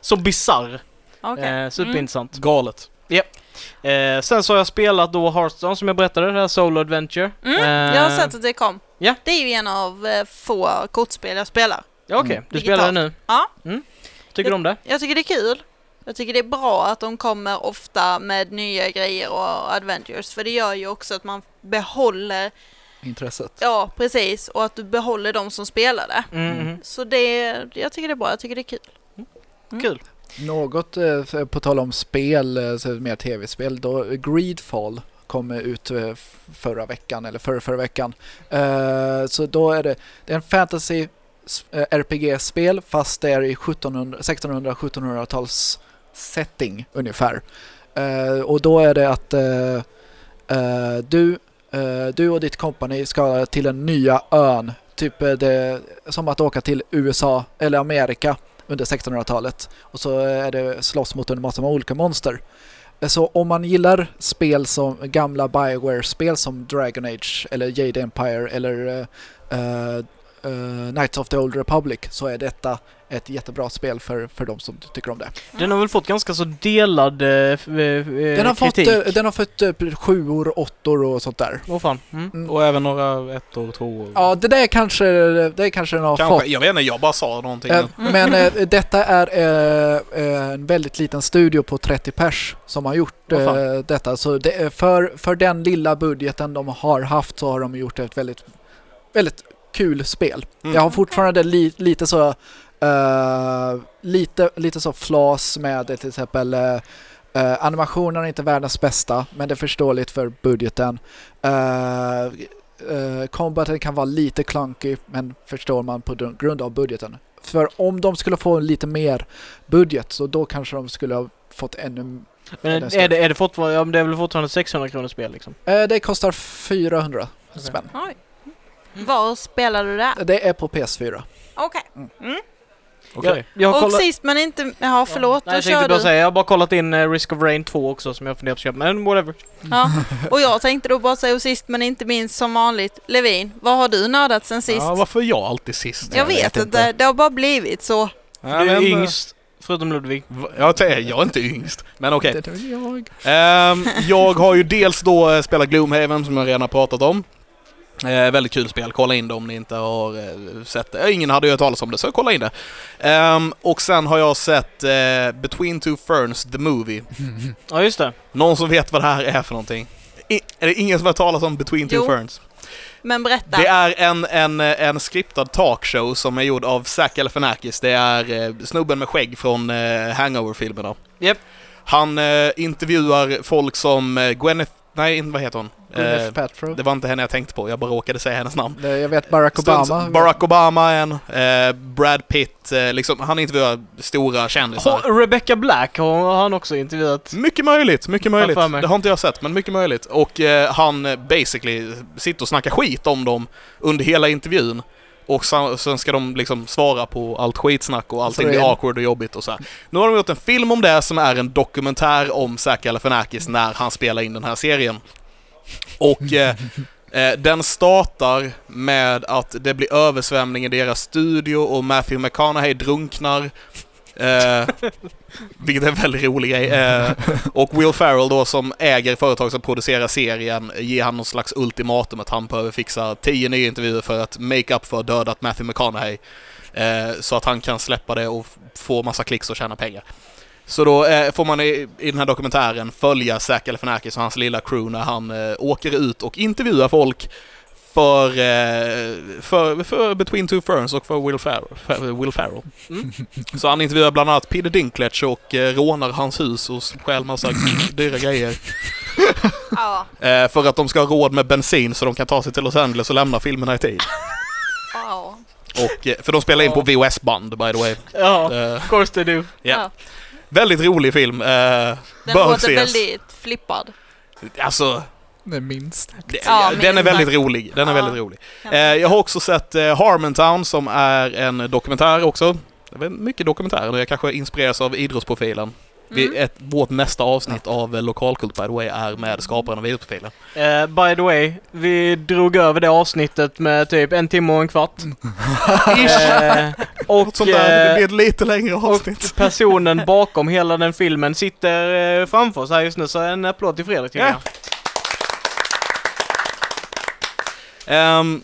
S2: så bisarr.
S5: Okej. Mm.
S2: Eh, superintressant.
S1: Galet.
S2: Eh, sen så har jag spelat då Hearthstone som jag berättade, det här Solo Adventure.
S5: Mm.
S2: Eh,
S5: Jag har sett att det kom.
S2: ja.
S5: Det är ju en av eh, få kortspel jag spelar.
S2: Ja, Okej,
S4: Mm.
S2: du spelar det nu?
S5: Ja.
S2: Mm. Tycker du om det?
S5: Jag tycker det är kul. Jag tycker det är bra att de kommer ofta med nya grejer och adventures för det gör ju också att man behåller,
S4: Intresset.
S5: ja precis, och att du behåller de som spelar det.
S2: Mm.
S4: Mm.
S2: mm.
S5: Så det, jag tycker det är bra, jag tycker det är kul.
S2: Kul.
S4: Något eh, för- på tal om spel, eh, så mer tv-spel, då Greedfall kom eh, ut eh, f- förra veckan eller förra, förra veckan. Eh, Så då är det, det är en fantasy s- eh, RPG-spel fast det är i 1600-1700-tals setting ungefär. Eh, Och då är det att eh, eh, du, eh, du och ditt kompani ska till den nya ön, typ eh, det, som att åka till USA eller Amerika under 1600-talet. Och så är det slåss mot en massa olika monster. Så om man gillar spel som gamla Bioware-spel som Dragon Age eller Jade Empire eller eh, eh, eh, Knights of the Old Republic så är detta ett jättebra spel för, för de som tycker om det.
S2: Den har väl fått ganska så delad eh, f- eh,
S4: Den har, fått,
S2: kritik?
S4: eh, den har fått eh, sjuor, åttor och sånt där.
S2: Åh fan. Mm.
S1: Och även några ettor, tvåor.
S4: Ja, det där kanske, det kanske den har fått.
S1: Kanske. Jag vet inte, jag bara sa någonting.
S4: Eh, [laughs] Men eh, detta är eh, eh, en väldigt liten studio på 30 pers som har gjort
S2: Vad fan.
S4: eh, detta. Så det, är för, för den lilla budgeten de har haft så har de gjort ett väldigt, väldigt kul spel.
S1: Mm.
S4: Jag har fortfarande li, lite så eh, lite, lite så flas med eh, till exempel eh, eh, animationen är inte världens bästa, men det är förståeligt för budgeten. Eh, eh, combaten kan vara lite clunky, men förstår man på dun- grund av budgeten. För om de skulle få lite mer budget, så då kanske de skulle ha fått ännu...
S2: Men
S4: den
S2: är
S4: står-
S2: det, är det fortfarande, ja, men det är väl fortfarande 600 kronor spel liksom?
S4: Eh, det kostar 400 spänn.
S5: Oj.
S2: Mm.
S5: Var spelar du det?
S4: Det är på PS4.
S5: Okej.
S1: Okej.
S2: Jag, jag har
S5: Och
S2: kollat...
S5: sist men inte, ja förlåt,
S2: Nej,
S5: då
S2: jag tänkte
S5: kör
S2: bara
S5: du.
S2: säga, jag har bara kollat in eh, Risk of Rain 2 också som jag funderar på att köpa, men whatever.
S5: Ja. Och jag tänkte då bara säga och sist men inte minst som vanligt, Levin, vad har du nördat sen sist?
S1: Ja, varför är jag alltid sist?
S5: jag vet inte, det har bara blivit så.
S1: Ja,
S2: du är
S1: men, eh,
S2: yngst, förutom Ludvig.
S1: va- Jag, säger, jag är inte yngst, men okej.
S4: Det är jag.
S1: Ehm, jag har ju dels då eh, spelat Gloomhaven som jag redan har pratat om. Eh, väldigt kul spel, kolla in det om ni inte har eh, sett det. Eh, Ingen hade ju hört talas om det, så kolla in det. Ehm, och sen har jag sett eh, Between Two Ferns, The Movie.
S2: Ja, just det.
S1: Någon som vet vad det här är för någonting? I, är det ingen som har hört talas om Between Two
S5: Jo.
S1: Ferns?
S5: Men berätta.
S1: Det är en, en, eh, en skriptad talkshow som är gjord av Zac Galifianakis. Det är eh, snubben med skägg från eh, Hangover-filmerna.
S2: Japp.
S1: Han eh, intervjuar folk som eh, Gwyneth... Nej, vad heter hon?
S4: Gwyneth
S1: Eh,
S4: Paltrow.
S1: det var inte henne jag tänkte på, jag bara råkade säga hennes namn.
S4: Nej, Jag vet Barack
S1: Stunts-
S4: Obama.
S1: Barack Obama är en, eh, Brad Pitt, eh, liksom, han intervjuar stora kändisar.
S2: Har- Rebecca Black har har han också intervjuat.
S1: Mycket möjligt, mycket möjligt.
S2: för mig.
S1: Det har inte jag sett, men mycket möjligt. Och eh, han eh, basically sitter och snackar skit om dem under hela intervjun. Och sen, sen ska de liksom svara på allt skitsnack och allting
S4: Så det är-
S1: blir awkward och jobbigt och så här. Nu har de gjort en film om det som är en dokumentär om Zac Galifianakis när han spelar in den här serien. Och
S4: [laughs]
S1: eh, eh, den startar med att det blir översvämning i deras studio och Matthew McConaughey drunknar. Eh, vilket är en väldigt rolig grej. Eh, och Will Ferrell då som äger företag som producerar serien ger han någon slags ultimatum att han behöver fixa tio nya intervjuer för att make up för dödat Matthew McConaughey. Eh, så att han kan släppa det och f- få massa klicks och tjäna pengar. Så då eh, får man i, i den här dokumentären följa Zac Galifianakis och hans lilla crew när han eh, åker ut och intervjuar folk för, eh, för, för Between Two Ferns och för Will Ferrell. Fer- Will Ferrell. Så han intervjuar bland annat Peter Dinklage och eh, rånar hans hus och stjäl massa dyra grejer.
S5: Ja,
S1: Eh, för att de ska ha råd med bensin så de kan ta sig till Los Angeles och lämna filmerna i tid.
S5: ja.
S1: Och, eh, för de spelar in på VHS-band by the way.
S2: Ja,
S1: Eh,
S2: of course they do.
S1: Ja. väldigt rolig film. Eh,
S5: Den
S1: bör
S5: låter
S1: ses.
S5: väldigt flippad.
S1: Alltså,
S4: Nej, minst.
S1: det,
S5: Ja,
S1: den är
S5: minst
S1: väldigt
S5: sagt.
S1: rolig. Den är
S5: Ja.
S1: väldigt rolig. Eh, jag har också sett eh, Harmontown som är en dokumentär också. Det var mycket dokumentärer nu. Jag kanske inspireras av idrottsprofilen.
S5: Mm.
S1: Vi, ett, vårt nästa avsnitt av eh, Lokalkult by the way är med skaparen av idrottsprofilen.
S2: Eh, by the way, vi drog över det avsnittet med typ en timme och en
S1: [laughs]
S2: kvart. Eh,
S1: Något
S2: och
S1: sånt där, det
S2: eh,
S1: blir ett lite längre avsnitt.
S2: personen bakom hela den filmen sitter eh, framför oss här just nu, så en applåd till Fredrik tycker
S1: Ja.
S2: jag.
S1: Ehm,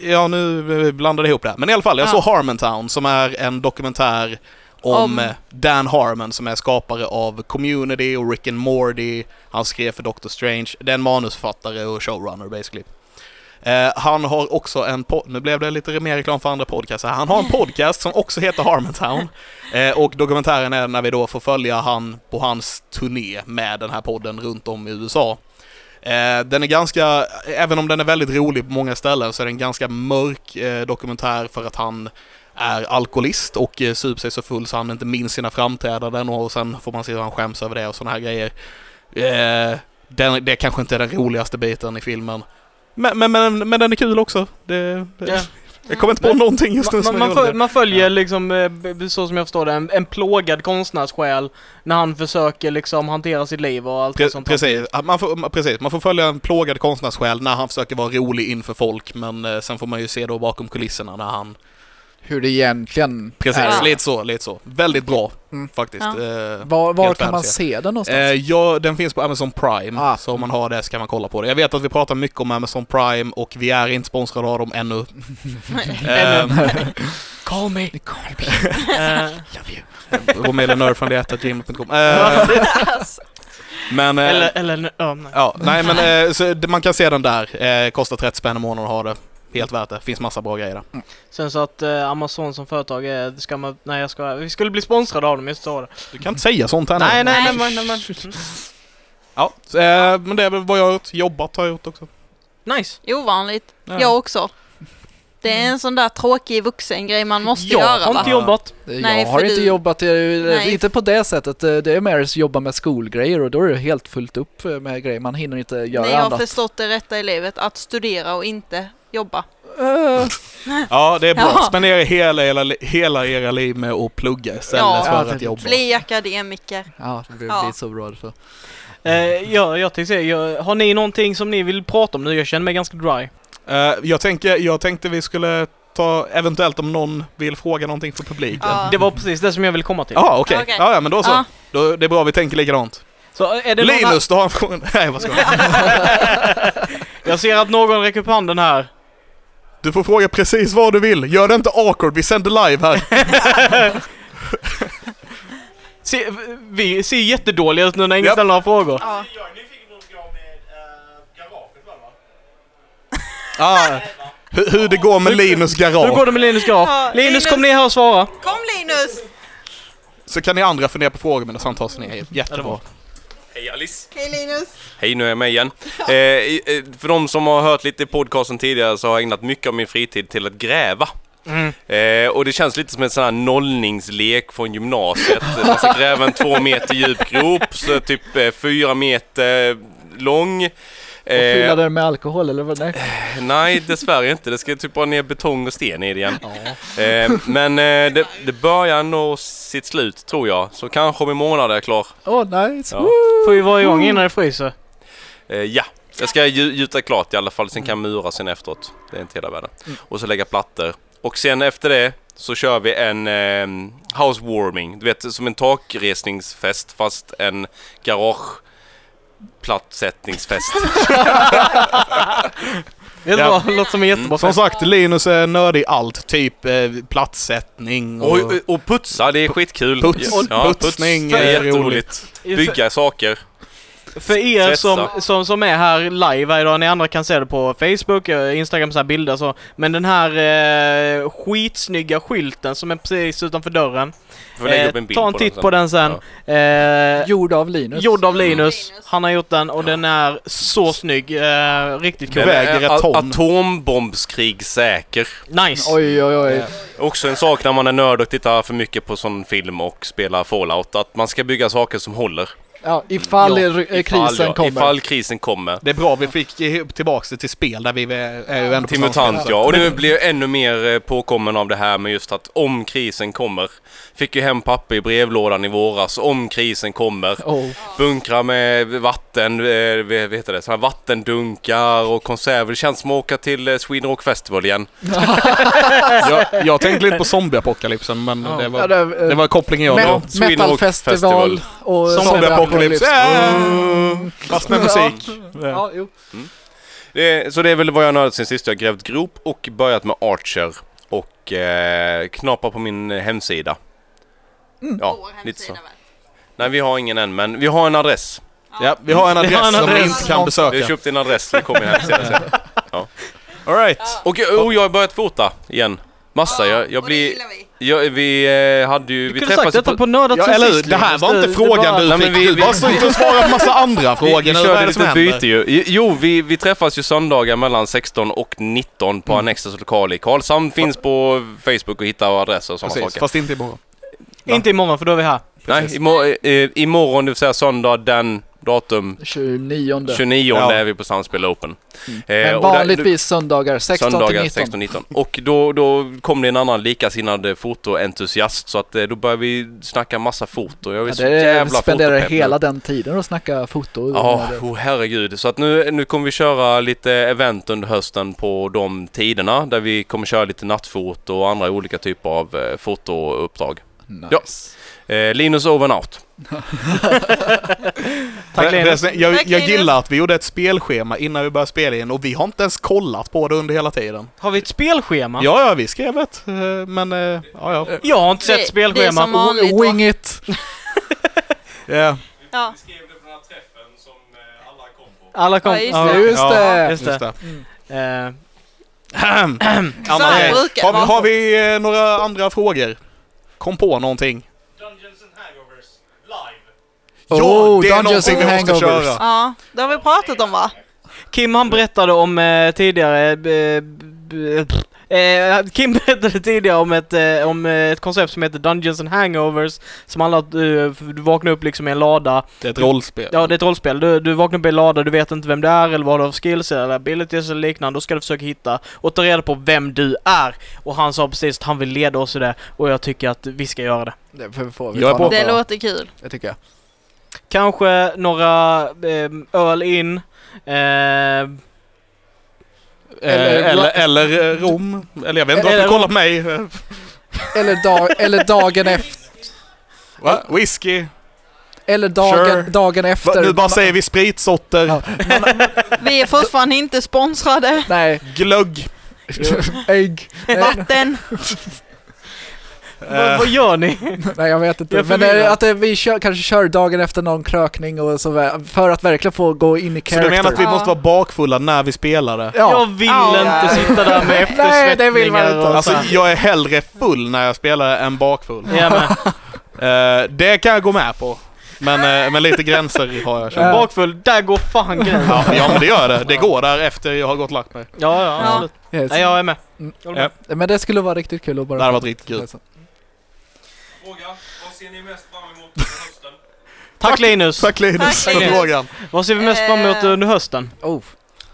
S1: ja, nu eh, blandade jag ihop det här. Men i alla fall, jag
S2: Ah.
S1: såg Harmontown som är en dokumentär om,
S5: Om-
S1: eh, Dan Harmon som är skapare av Community och Rick and Morty. Han skrev för Doctor Strange. Det är en manusförfattare och showrunner basically. Eh, han har också en pod- nu blev det lite mer reklam för andra podcaster. Han har en podcast som också heter Harmontown. Eh, och dokumentären är när vi då får följa han på hans turné med den här podden runt om i USA. Eh, den är ganska, även om den är väldigt rolig på många ställen, så är den ganska mörk eh, dokumentär för att han är alkoholist och eh, super sig så full så han inte minns sina framträdanden och sen får man se hur han skäms över det och sådana här grejer. Eh, den, det kanske inte är den roligaste biten i filmen. Men, men, men, men den är kul också. Det,
S2: Ja.
S1: Jag kommer inte på
S2: Men-
S1: någonting just nu
S2: Man,
S1: som
S2: man,
S1: jag gjorde
S2: föl- man följer liksom, eh, b- b- så som jag förstår det, en, en plågad konstnärssjäl när han försöker liksom hantera sitt liv och allt
S1: Pre-
S2: sånt. där.
S1: precis. Ja, Man får, man- precis, man får följa en plågad konstnärssjäl när han försöker vara rolig inför folk men eh, sen får man ju se då bakom kulisserna när han...
S4: Hur det egentligen
S1: Precis,
S5: Ja.
S1: lite så, lite så. Väldigt bra
S4: Mm.
S1: faktiskt.
S5: Ja.
S1: Eh,
S4: Var, var
S1: Helt
S4: kan man
S1: fancy.
S4: se den någonstans?
S1: eh, ja, den finns på Amazon Prime,
S4: Ah.
S1: så om man har det så kan man kolla på det. Jag vet att vi pratar mycket om Amazon Prime och vi är inte sponsrade av dem ännu.
S2: Ännu.
S1: Eh, [laughs]
S4: Call me! Call me.
S2: Eh,
S1: Romelu Nörd från det att gmail.com. Eh,
S5: Alltså,
S1: men... eh,
S2: [laughs] eller, eller, ja, nej.
S1: Ja, nej men eh, så, det- man kan se den där. Eh, kostar 30 spänn i månaden att ha det. Helt värt det. Finns massa bra grejer där.
S2: Sen så att eh, Amazon som företag är, ska man, nej jag ska, vi skulle bli sponsrade av dem, just så var det.
S1: Du kan inte säga sånt här nu.
S2: Nej, nej, nej,
S5: Nej.
S2: nej, nej,
S1: Ja, så, eh, men det är väl vad jag har gjort. Jobbat har jag gjort också.
S2: nej. Nice!
S5: ovanligt.
S1: Ja.
S5: Jag också. Det är en sån där tråkig vuxengrej man måste
S2: jag
S5: göra
S2: har
S5: va?
S2: inte jobbat.
S4: Jag
S5: Nej,
S4: har
S5: för
S4: inte
S5: du-
S4: jobbat, eh,
S5: Nej.
S4: inte på det sättet. Eh, Det är mer att jobba med skolgrejer och då är det helt fullt upp eh, med grejer. Man hinner inte göra
S5: När jag har
S4: annat.
S5: förstått det rätta i livet, att studera och inte jobba.
S4: Eh,
S1: Ja, det är bra.
S5: Ja.
S1: Spendera hela, hela, hela era liv med att plugga istället
S5: Ja.
S1: för
S4: Ja, det
S1: att
S4: blir-
S1: jobba.
S5: Bli akademiker.
S4: ja, det blir
S5: Ja.
S4: blir så bra. Så.
S2: Eh, ja, jag tänkte säga, jag, har ni någonting som ni vill prata om nu? Jag känner mig ganska dry.
S1: Eh, jag, tänker, jag tänkte vi skulle ta, eventuellt om någon vill fråga någonting för publiken.
S5: Ja.
S2: Det var precis det som jag ville komma till.
S1: Jaha, okej.
S5: Okej.
S1: Ja, ja, men då så.
S5: Ja.
S1: Då, det är bra, vi tänker likadant. [laughs]
S2: Så eh, är det någon-
S1: Linus, du har en fråga? Nej, vad ska jag?
S2: [laughs] Jag ser att någon räcker upp handen här.
S1: Du får fråga precis vad du vill. Gör det inte awkward, vi sänder live här.
S2: Se, vi ser jättedåliga ut nu när ingen
S1: Japp.
S2: ställer några frågor.
S5: Ja.
S6: Jag är nyfiken hur det går med äh, garaget va? va?
S1: Ah, hur, hur det går med Linus
S2: Hur går
S1: garage.
S2: det med Linus Graf?
S5: Ja,
S2: Linus,
S5: Linus-
S2: kom ner här och svara.
S5: Kom Linus!
S1: Så kan ni andra fundera på frågor medan han tar sig ner. Jättebra.
S3: Hej Alice!
S5: Hej Linus!
S3: Hej, nu är jag med igen. Eh, i- eh, för de som har hört lite i podcasten tidigare så har jag ägnat mycket av min fritid till att gräva.
S4: Mm.
S3: Eh, och det känns lite som en sån här nollningslek från gymnasiet. Man ska gräva en två meter djup grop, så typ eh, fyra meter lång.
S4: Och
S3: Eh,
S4: fylla den med alkohol eller vad?
S1: eh,
S4: Nej.
S3: nej, dessvärre inte. Det ska typ bara ner betong och sten i det igen. Eh, men eh, det, det börjar nå sitt slut, tror jag. Så kanske om en månad är jag klar.
S4: Åh, oh, nice!
S3: Ja.
S4: Woo!
S2: Får ju vara igång innan det fryser. [laughs]
S3: Eh, ja, jag ska gju- gjuta klart i alla fall. Sen kan jag mura sen efteråt. Det är inte hela världen.
S1: Mm.
S3: Och så lägga plattor. Och sen efter det så kör vi en eh, housewarming. Du vet, som en takresningsfest fast en garage
S1: [laughs]
S3: plattsättningsfest.
S2: Det är
S1: Ja.
S2: bra, låter som en
S3: Mm.
S2: jättebra
S1: Som
S2: fest.
S1: sagt, Linus är nördig i allt. Typ eh, platssättning och...
S3: och, och, och putsa, det är skitkul.
S1: Puts-
S3: puts.
S1: putsning
S3: Det är
S1: är
S3: jätteroligt. Bygga saker.
S2: För er som,
S3: Tvätta.
S2: som, som är här live varje dag, ni andra kan se det på Facebook, eh, Instagram, så här bilder så. Men den här eh, skitsnygga skylten som är precis utanför dörren.
S3: Vi får lägga
S2: eh,
S3: upp en bild
S2: ta en
S3: på
S2: titt
S3: den
S2: på
S3: sen.
S2: den sen. Eh,
S4: Gjord av Linus.
S2: gjord av
S5: Mm.
S2: Linus.
S5: Linus.
S2: Han har gjort den och den är så snygg. Eh, riktigt
S1: Den
S2: cool.
S1: väger ett
S3: a-
S1: ton.
S3: Atombombskrigssäker.
S2: Nice!
S4: Oj, oj,
S1: Eh,
S4: oj.
S3: Också en sak när man är nörd och tittar för mycket på sån film och spelar Fallout, att man ska bygga saker som håller.
S4: Ja, ifall
S3: Ja,
S4: r- eh, krisen
S3: ja,
S4: kommer.
S3: Ifall krisen kommer.
S1: Det är bra vi fick ge- tillbaka det till spel där vi är är ju ändå
S3: Till
S1: på samma
S3: MUTANT
S1: sida.
S3: ja, och nu blir jag ännu mer eh, påkommen av det här med just att om krisen kommer. Fick ju hem papper i brevlådan i våras, om krisen kommer.
S4: Oh.
S3: Bunkrar med vatten, eh, vad vad heter det, såna här vattendunkar och konserver. Det känns som att åka till eh, Sweden Rock Festival igen.
S1: Jag, jag tänkte lite på zombieapokalypsen men
S2: Ja.
S1: det,
S4: Ja,
S1: var,
S4: det, eh,
S1: det var kopplingen jag
S4: me-
S1: drog.
S3: Sweden Rock
S4: metalfestival och
S1: Zombieapokalyps!
S4: zombieapokalyps.
S1: Äh, Fast med musik.
S4: Ja, jo.
S3: Det, så det är väl vad jag nördat sen sist. Jag har grävt grop och börjat med Archer och eh, knapar på min hemsida. Ja, lite så. Nej, vi har ingen än, men vi har en adress.
S1: Ja, vi har en
S2: Vi har
S1: adress
S2: en
S1: som ni
S2: adress.
S1: inte kan
S3: Vi har
S1: besöka.
S3: köpt en adress, vi kommer
S1: [laughs]
S3: en hemsida sen.
S1: All right.
S3: Och, och oh, jag har börjat fota igen. Massa. Jag, jag blir...
S5: vi.
S3: Jag, vi eh, hade ju...
S2: Du
S3: Vi
S2: kunde sagt
S3: träffades
S2: detta
S3: på-
S2: på Nördat
S1: Ja,
S2: sen
S1: eller hur?
S2: sist,
S1: Det här
S2: Linus.
S1: var inte
S2: det
S1: frågan
S2: bara-
S1: du
S3: Nej,
S1: fick.
S3: men vi-
S1: Du
S3: vi-
S1: bara sitter och svarar en massa andra
S3: Vi,
S1: frågor.
S3: vi
S1: nu. Vad är
S3: körde
S1: det som
S3: lite
S1: händer?
S3: byte ju. I- Jo, vi, vi träffas ju söndagar mellan 16 och 19
S1: Mm.
S3: på Annexes lokal i Karlshamn. Finns på Facebook och hittar adresser och sådana
S1: Precis,
S3: saker.
S1: fast inte imorgon.
S2: Inte imorgon för då är vi här.
S3: Nej, imorgon, eh, imorgon, det vill säga söndag den datum
S4: 29.
S3: 29
S1: Ja.
S3: är vi på Samspel Open. Eh,
S4: Mm. Men
S3: och där-
S4: vanligtvis söndagar 16
S3: Söndagar
S4: till 19.
S3: 16-19. Och då, då kom det en annan likasinnad fotoentusiast så att eh, då började vi snacka massa foto. Jag är
S4: Ja,
S3: så
S4: det
S3: jävla
S4: spenderar
S3: fotopepp nu.
S4: hela den tiden att snacka foto.
S3: Ja, oh, herregud. Så att nu, nu kommer vi köra lite event under hösten på de tiderna där vi kommer köra lite nattfoto och andra olika typer av eh, fotouppdrag.
S4: nice.
S3: Eh, Linus over and out.
S2: Tack
S1: Förresten,
S2: Linus.
S1: Jag, jag
S5: Tack, Linus.
S1: gillar att vi gjorde ett spelschema innan vi började spela in och vi har inte ens kollat på det under hela tiden.
S2: Har vi ett spelschema?
S1: Ja, ja, vi skrev ett, eh, men eh, ja, ja.
S2: Jag har inte
S5: Det-
S2: sett
S5: det är
S2: spelschema.
S5: som vanligt, va?
S4: Oh, Wing it!
S1: Ja.
S5: Ja.
S6: Skrev du på den här träffen som eh, alla kom på?
S2: Alla kom.
S5: Ja, just
S2: Ja,
S5: det.
S4: Just
S1: Ja.
S2: [clears throat] just
S4: det!
S2: det.
S1: Just det.
S2: Eh,
S1: Ahem.
S5: Så
S1: Anna,
S5: här
S1: eh,
S5: brukar
S1: har,
S5: det vara.
S1: vi- har vi eh, några andra frågor? Kom på någonting.
S6: Dungeons and Hangovers live.
S4: Oh,
S1: ja, det är
S4: Dungeons
S1: någonting vi
S4: and
S1: måste
S4: Hangovers.
S1: köra.
S5: Ja, det har vi pratat om va?
S2: Kim han berättade om eh, tidigare... eh, b- b- eh, Kim [laughs] berättade tidigare om ett, eh, om eh, ett koncept som heter Dungeons and Hangovers Som handlar om att du, eh, du vaknar upp liksom i en lada
S1: Det är ett rollspel.
S2: Ja det är ett rollspel, du, du vaknar upp i en lada, du vet inte vem du är eller vad du har för skills eller abilities eller liknande Då ska du försöka hitta och ta reda på vem du är Och han sa precis att han vill leda oss i det och jag tycker att vi ska göra det
S4: Det får- får vi
S1: Jag är
S4: ta
S1: på.
S4: någon
S5: Det
S4: dag,
S5: låter kul.
S4: Det tycker jag.
S2: Kanske några ehm, öl in ehm,
S1: Eh,
S4: Eller-
S1: Eller, eller, eh, Rom. Eller jag vet inte varför
S2: Eller
S1: du kollar på mig. Eh, [laughs]
S4: Eller, dag, eller dagen efter.
S1: Va? Whisky.
S4: Eller dagen,
S1: Sure.
S4: dagen efter.
S1: Va, nu bara
S4: Man-
S1: säger vi spritsorter,
S4: Ja.
S5: Vi är fortfarande
S1: [laughs]
S5: inte sponsrade.
S4: Nej,
S1: glögg.
S4: ägg. Nej,
S5: Vatten.
S2: Vad-
S1: Eh,
S2: vad gör ni?
S4: nej, jag vet inte.
S2: Jag är
S4: Men eh,
S2: förvirrad.
S4: att eh, vi kör, kanske kör dagen efter någon krökning och så vä- för att verkligen få gå in i
S1: Så du
S4: character.
S1: menar att vi
S5: Ja.
S1: måste vara bakfulla när vi spelar det?
S2: Jag
S4: Ja,
S2: vill
S5: Ja.
S2: inte sitta där med eftersvettningar
S4: [laughs] Nej, det vill man inte.
S2: och
S1: Alltså
S2: så här.
S1: jag är hellre full när jag spelar än bakfull.
S2: Jag med.
S1: Eh, det kan jag gå med på. Men, eh, men lite gränser har jag.
S4: Ja.
S1: känt.
S2: Bakfull, där går fan gränsen.
S1: Ja, ja men det gör det. Det går där efter jag har gått och lagt mig.
S2: Ja, ja,
S5: Ja.
S2: absolut.
S4: yes.
S2: Nej, jag är med.
S4: Mm.
S2: Jag håller med.
S4: Men det skulle vara riktigt kul att bara...
S1: Det hade varit riktigt kul.
S6: Fråga, vad ser ni mest fram emot under hösten?
S2: Tack Linus!
S1: Tack Linus
S5: Tack,
S1: för
S2: Linus.
S1: frågan.
S2: Vad ser vi mest fram emot
S5: Eh.
S2: under hösten?
S4: Oh.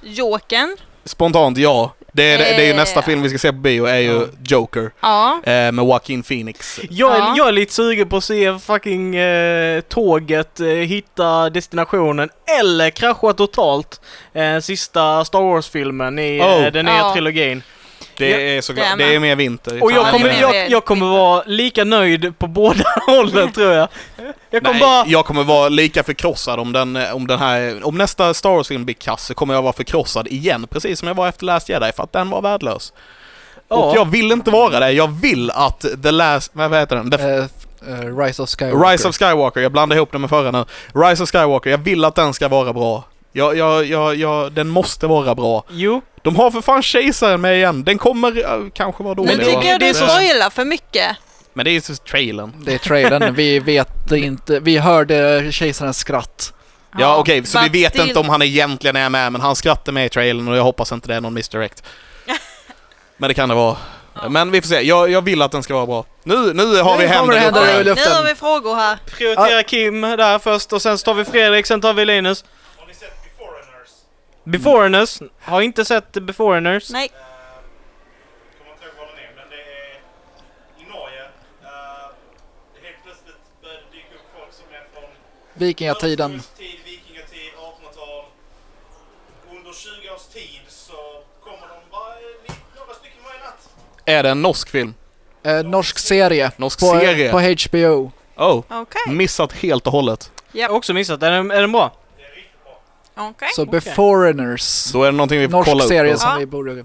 S5: Jokern.
S1: Spontant ja. Det är, det är ju
S5: Eh.
S1: nästa film vi ska se på bio är ju Joker
S5: Ja.
S1: eh, med Joaquin Phoenix.
S2: Jag är,
S5: Ja.
S2: jag är lite sugen på att se fucking eh, tåget eh, hitta destinationen eller krascha totalt eh, sista Star Wars-filmen i eh,
S1: Oh.
S2: den nya
S5: Ja.
S2: trilogin.
S1: Det är såklart,
S5: det
S1: det
S5: är
S1: är,
S5: med.
S1: mer vinter.
S2: Och jag
S5: Ja,
S2: kommer,
S5: men-
S2: jag, jag kommer vara lika nöjd på båda [laughs] hållen tror jag. Jag kommer
S1: Nej,
S2: bara...
S1: jag kommer vara lika förkrossad om den, om den här, om nästa Star Wars-film blir kass så kommer jag vara förkrossad igen, precis som jag var efter Last Jedi, för att den var värdelös.
S2: Ja.
S1: Och jag vill inte vara det, jag vill att The Last, vad heter den? The
S4: Eh, eh, Rise of Skywalker.
S1: Rise of Skywalker, jag blandade ihop den med förra nu. Rise of Skywalker, jag vill att den ska vara bra. Jag, jag, jag, jag, den måste vara bra.
S2: Jo,
S1: De har för fan kejsaren med igen, den kommer eh, kanske vara
S5: Nu
S1: dålig.
S2: det-
S1: va?
S5: tycker jag
S2: det är
S5: du
S2: så-
S5: spoilar för mycket.
S1: Men det är ju trailern.
S4: Det är trailern, vi vet inte. Vi hörde kejsarens skratt.
S1: Ja, okej, så vi
S5: But
S1: vet
S5: still-
S1: inte om han egentligen är med, men han skrattar med i trailern och jag hoppas inte det är någon
S5: [laughs]
S1: misdirect. men det kan det vara. Men vi får se, jag, jag vill att den ska vara bra. Nu, nu har
S4: Nu
S1: vi
S4: kommer det
S1: händer
S4: hända.
S5: Oj,
S1: uppe.
S4: i
S5: nu
S4: luften.
S5: har vi frågor här.
S2: prioritera Kim där först och sen så tar vi Fredrik, sen tar vi Linus.
S6: Har ni sett Beforeigners?
S2: Beforeigners, har inte sett Beforeigners.
S5: Nej.
S6: Eh, kommer inte ihåg vad den är, men det är i Norge. Eh, helt plötsligt började det dyka upp folk som är från
S4: Vikingatiden.
S6: Östgötstid, vikingatid, 1800-tal. Under 20 års tid så kommer de bara eh, några stycken varje natt.
S1: Är det en norsk film?
S4: Eh, norsk serie.
S1: Norsk
S4: På,
S1: serie?
S4: på HBO.
S1: Oh,
S5: Okej.
S1: missat helt och hållet.
S2: Jag har också missat, är den, är den bra?
S6: Det är riktigt bra.
S1: Mm.
S5: Okej.
S4: Så Beforeigners.
S1: Då är det någonting vi får kolla
S4: Norsk
S1: upp.
S4: serie
S1: då.
S4: som
S5: Ja.
S4: vi borde...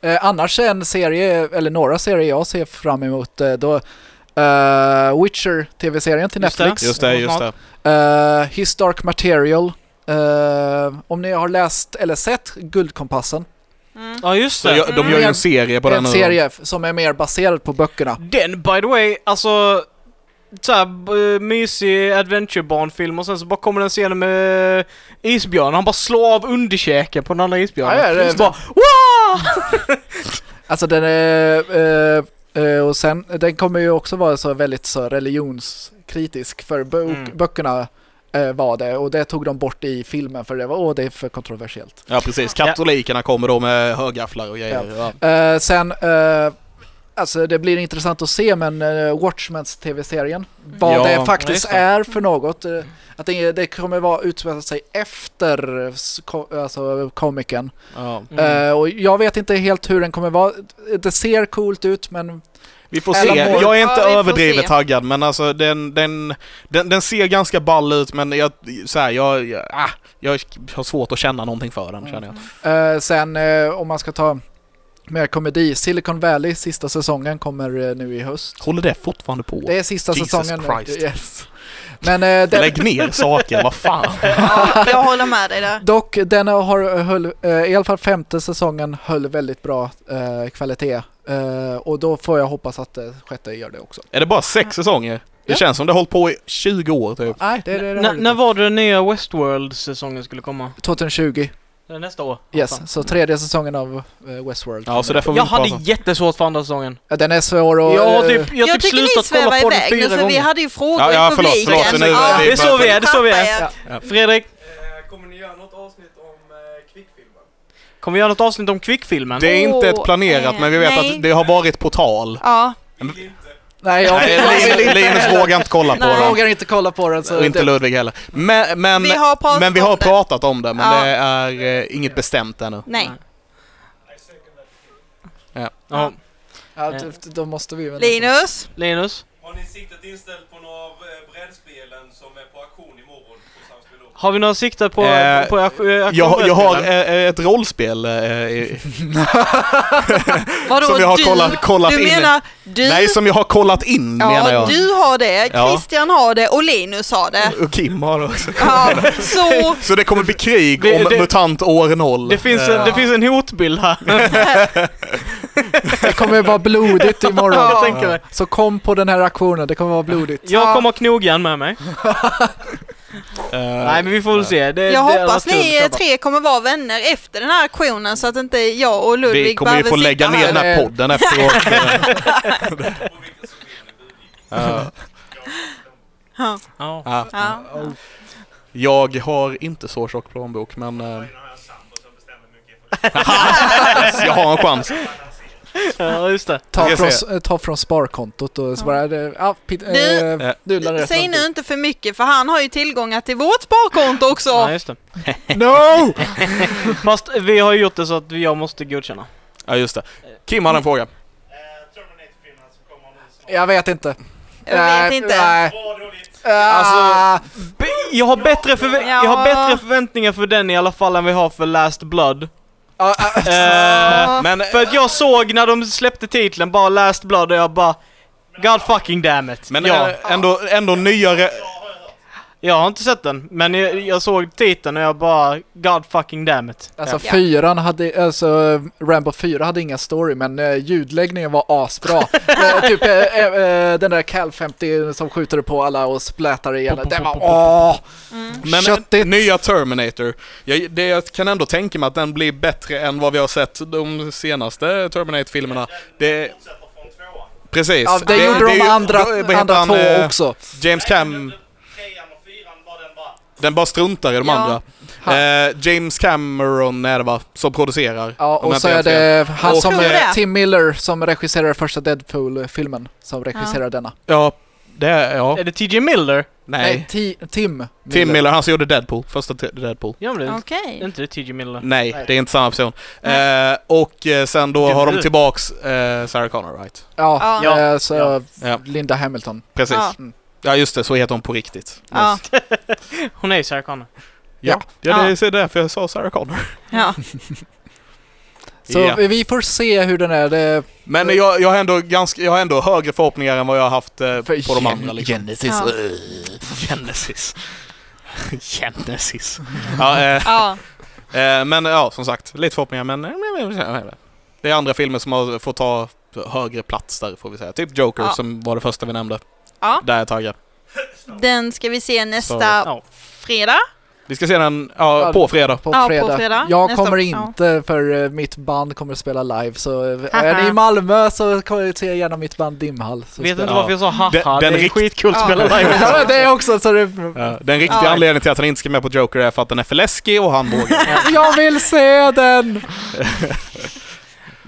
S4: Eh, annars är en serie, eller några serier jag ser fram emot eh, då eh, Witcher, tv-serien till
S2: Just det.
S4: Netflix.
S1: Just det, just det.
S4: Eh, His Dark Material. Eh, om ni har läst eller sett Guldkompassen.
S5: Mm.
S2: Ja just
S1: Så
S2: det.
S1: jag, de gör ju en serie på den
S4: En
S1: nu.
S4: serie f- som är mer baserad på böckerna.
S2: Den by the way, alltså såhär b- mysig adventure barnfilm och sen så bara kommer den scenen med eh, isbjörnen, han bara slår av underkäken på den andra isbjörnen.
S4: Ja, ja, det-
S2: så bara Wah!
S4: Alltså den är... eh, eh, och sen, den kommer ju också vara så väldigt så religionskritisk för bö-
S2: Mm.
S4: böckerna eh, var det och det tog de bort i filmen för det var åh det är för kontroversiellt.
S1: Ja, precis. Katolikerna kommer då med högafflar och grejer. Ja.
S4: Eh, sen, eh, alltså det blir intressant att se men uh, Watchmens tv-serien, vad
S1: Ja, Mm.
S4: det faktiskt
S2: just det.
S4: är för något. eh, att det, det kommer vara utspela sig efter eh, s- ko- alltså, komikern.
S1: Ja.
S2: Mm.
S4: Eh, och jag vet inte helt hur den kommer vara. Det ser coolt ut men
S1: Vi får
S4: Eller
S1: se.
S4: mål.
S1: Jag är inte
S5: Ja, vi får
S1: överdrivet
S5: se.
S1: taggad, men alltså den, den, den, den ser ganska ball ut, men jag, så här, jag, jag, ah, jag har svårt att känna någonting för den, känner jag.
S4: eh, sen eh, om man ska ta mer komedi, Silicon Valley sista säsongen kommer eh, nu i höst.
S1: Håller det fortfarande på?
S4: Det är sista
S1: Jesus
S4: säsongen.
S1: Christ.
S4: Yes. Men eh, den,
S1: Lägg ner saker, vad fan.
S4: [laughs]
S5: Ja, jag håller med dig där.
S4: Dock, den har, höll, eh, i alla fall femte säsongen höll väldigt bra eh, kvalitet. Eh, och då får jag hoppas att eh, sjätte gör det också.
S1: Är det bara sex säsonger? Det
S4: Ja.
S1: känns som det har hållit på i 20 år typ.
S4: Nej, det, det, det
S2: N- när var det den nya Westworld-säsongen skulle komma?
S4: 2020.
S2: Det är Nästa år?
S4: Yes,
S2: Fan.
S4: så tredje säsongen av eh, Westworld.
S1: Ja, så det får vi
S2: Jag
S1: inte
S2: hade
S1: prata om.
S2: jättesvårt för andra säsongen.
S4: Ja, Den är svår och...
S2: Jag har
S4: eh,
S2: typ, jag har
S5: Jag,
S2: typ
S5: tycker ni
S2: slutat kolla
S5: svävar
S2: på den
S5: iväg nu
S2: fyra
S5: för vi
S2: gånger.
S5: hade ju frågor
S1: Ja, ja,
S5: i
S1: förlåt,
S5: publiken.
S1: förlåt, för nu-
S5: ja,
S1: vi-
S2: Det är så vi är, det är så vi är.
S5: Tappar
S2: Fredrik,
S6: Eh, kommer ni göra något avsnitt om eh, kvickfilmer?
S2: kommer vi göra något avsnitt om Quick-filmen?
S1: Det är inte ett
S5: Åh,
S1: planerat,
S5: eh,
S1: men vi vet
S5: nej.
S1: att det har varit på tal.
S5: Ja,
S6: Vill inte.
S4: Nej, jag,
S1: Nej,
S4: jag, vill
S1: Lin-
S4: inte,
S1: Linus vågar inte kolla på
S5: Nej.
S1: den.
S4: vågar inte kolla på den. Så
S1: Och inte
S4: det,
S1: Ludvig heller. Men, men,
S5: typ. vi har pratat
S1: men vi har
S5: om det.
S1: pratat om det, men
S5: Ja.
S1: det är eh, inget bestämt ännu.
S5: Nej,
S2: Ja.
S4: ja, typ, då måste vi väl...
S5: Linus.
S2: Linus?
S6: Har ni siktet inställt på några eh, brädspelen som är på auktion imorgon på Samspel Open?
S2: Har vi några sikte på,
S1: Eh,
S2: på, på
S1: Jag, jag har eh, ett rollspel eh,
S5: [laughs]
S1: eh,
S5: Vadå
S1: Som jag har
S5: du?
S1: kollat- kollat
S5: du
S1: in.
S5: menar
S1: [laughs]
S5: du?
S1: Nej, som jag har kollat in
S5: ja,
S1: menar jag.
S5: du har det,
S1: Ja.
S5: Christian har det och Linus har det.
S1: Och Kim har också.
S5: Ja, så
S1: Så [laughs] det kommer bli krig
S2: Det-
S1: om
S2: det-
S1: MUTANT år 0.
S2: Det finns, en, det finns en hotbild
S5: [laughs]
S2: här.
S4: Det kommer
S1: [laughs]
S4: vara blodigt imorgon.
S5: Ja.
S2: Jag tänker det.
S4: Så kom på den här aktionen, det kommer vara blodigt.
S2: Jag kommer ha knogjärn med mig.
S1: Eh,
S2: Nej men vi får väl se. Det,
S5: jag
S2: det hade
S5: hoppas
S2: varit kul att
S5: ni
S2: köpa.
S5: tre kommer vara vänner efter den här auktionen så att inte jag och Ludvig
S1: Vi kommer ju
S5: behöver
S1: få
S5: sitta
S1: lägga ner
S5: här.
S1: den här
S4: här.
S1: podden
S5: [laughs]
S1: efteråt. eh. Ja.
S5: Ja.
S2: Ja.
S1: Ja.
S5: Ja.
S1: Jag har inte så tjock plånbok, men eh,
S6: Nu har jag en sambo som bestämmer mycket.
S1: jag har en chans.
S2: ja, just det.
S1: Jag
S4: Ta
S1: ska
S4: från,
S1: se.
S4: eh, ta från sparkontot och så bara... eh, Ja, pit, eh,
S5: Du-
S4: nudlar det
S5: Säg
S4: fram
S5: nu inte för mycket för han har ju tillgångar till vårt sparkonto också.
S2: Ja, just det.
S4: till- [laughs] No!
S2: Fast vi har ju gjort det så att jag måste godkänna.
S1: Ja, just det. Kim hade en fråga.
S6: Eh, Terminator-filmen som kommer nu snart.
S4: Jag vet inte.
S5: jag vet inte.
S4: Nej.
S6: Bra dåligt.
S4: Ah,
S2: Be- jag, har bättre förvä- jag har
S5: Ja.
S2: bättre förväntningar för den i alla fall än vi har för Last Blood.
S4: ah,
S1: äh.
S4: ah,
S2: Eh,
S5: Ja.
S1: Men,
S2: för att jag såg när de släppte titeln bara Last Blood och jag bara God fucking damn it.
S1: men
S2: ja,
S1: eh, ändå, ändå nyare...
S2: jag har inte sett den, men jag, jag såg titeln och jag bara God fucking damn it.
S4: Alltså
S5: Ja.
S4: fyran hade, alltså Rambo 4 hade ingen story men eh, ljudläggningen var
S5: [laughs]
S4: asbra. eh, typ eh, eh, eh, den där Cal 50 som skjuter på alla och splätar ihjäl. Den var åh!
S5: Mm.
S1: Men
S4: Köttigt.
S1: nya Terminator. Jag, det, jag kan ändå tänka mig att den blir bättre än vad vi har sett de senaste Terminator-filmerna. Det,
S6: Fortsätter från tvåan.
S1: precis.
S4: Ja, det, gjorde
S1: är
S4: de
S1: ju-
S4: andra,
S1: vad heter
S4: andra
S1: han,
S4: två
S1: eh,
S4: också.
S1: James Cam,
S6: Trean och fyran var den bara...
S1: den bara struntar i de
S5: Ja.
S1: andra. Eh, James Cameron är det va, som producerar.
S4: Ja,
S1: om jag
S4: och så
S1: inte
S4: är
S1: helt fel.
S4: det han
S1: Och-
S4: som
S5: Jag tror
S4: är
S5: det.
S4: Tim Miller som regisserar första Deadpool-filmen som regisserar denna.
S1: Ja, det är... Ja.
S2: Är det TJ Miller?
S1: Nej.
S4: Nej, Ti- Tim
S1: Tim Miller, han som gjorde Deadpool. Första te- Deadpool.
S2: Gör de det?
S5: Okej.
S2: Är inte det TJ Miller? [laughs]
S1: Nej,
S4: Nej.
S1: det är inte samma person. Eh, och eh, sen då
S2: Gud,
S1: har de
S2: du.
S1: tillbaks eh, Sarah Connor, right?
S4: Ja,
S5: Ja.
S4: eh, så
S2: Ja.
S1: Ja.
S4: Linda Hamilton.
S1: Precis.
S5: Ja.
S1: Mm. Ja, just det. Så heter hon på riktigt.
S5: Ja.
S2: Hon är ju Sarah Connor.
S1: Ja, ja det är därför jag sa Sarah Connor.
S5: Ja.
S4: Så
S1: Ja.
S4: vi- vi får se hur den är. Det,
S1: Men jag, jag, har ändå ganska, jag har ändå högre förhoppningar än vad jag har haft eh, på de andra. Liksom.
S4: Genesis. Eh,
S5: Ja.
S1: Genesis. Genesis. ja, eh,
S5: Ja.
S1: eh, men ja, som sagt. Lite förhoppningar, men... Det är andra filmer som har fått ta högre plats där, får vi säga. Typ Joker,
S5: Ja.
S1: som var det första vi nämnde.
S5: Ja.
S1: Där är jag taggad.
S5: Den ska vi se nästa
S1: Så-
S2: Ja.
S5: fredag.
S1: Vi ska se den ja,
S4: Ja,
S1: på fredag.
S4: På,
S5: Ja, på
S4: fredag.
S5: fredag.
S4: Jag
S5: Nästa-
S4: kommer
S5: ja.
S4: inte för eh, mitt band kommer att spela live så eh,
S5: Haha.
S4: är ni i Malmö så kommer jag se gärna mitt band Dimhall. Så
S2: Vet inte
S1: Ja.
S2: varför jag sa haha,
S1: Den- den
S2: det är
S1: rikt-
S2: skitkul att
S5: Ja.
S2: [laughs] spela live.
S4: [laughs] ja, det är också så det,
S1: Ja, den riktiga
S5: Ja.
S1: anledningen till att han inte ska med på Joker är för att den är för läskig och han
S4: Alltså,
S1: vågar.
S4: Jag vill se den!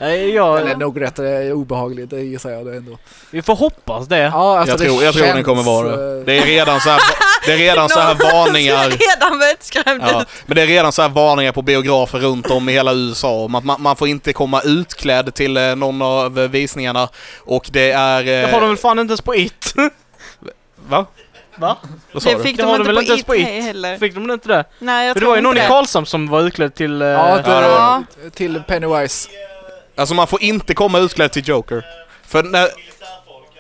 S2: Nej,
S4: Eller
S2: jag,
S4: nog rätt, det är obehagligt, det gissar jag det ändå.
S2: vi får hoppas det.
S4: Ja, alltså
S1: jag,
S4: det
S1: tror, jag tror den
S4: känns,
S1: kommer vara
S4: eh,
S1: det. Det är redan så här, det är redan
S5: [laughs]
S1: så här varningar.
S5: redan blivit skrämd
S1: Ja,
S5: ut.
S1: men det är redan så här varningar på biografer runt om i hela USA om att man, man får inte komma utklädd till eh, någon av eh, visningarna. Och det är... eh,
S2: Det har de väl fan inte ens på it?
S1: Va?
S2: Va?
S1: Vad sa
S5: Det
S1: du?
S5: fick
S2: Det
S5: de
S2: har
S5: inte
S2: de väl
S5: på
S2: inte ens
S5: IT
S2: på IT.
S5: heller.
S2: Fick de inte det?
S5: Nej, jag
S2: För det
S5: tror
S2: var ju någon
S5: inte
S2: i
S5: det.
S2: Karlshamn som var utklädd till... eh,
S4: Ja, typ. det,
S1: Ja, det var
S5: Ja.
S4: till Pennywise.
S1: Alltså man får inte komma utklädd till Joker. För när...
S6: Militärfolk,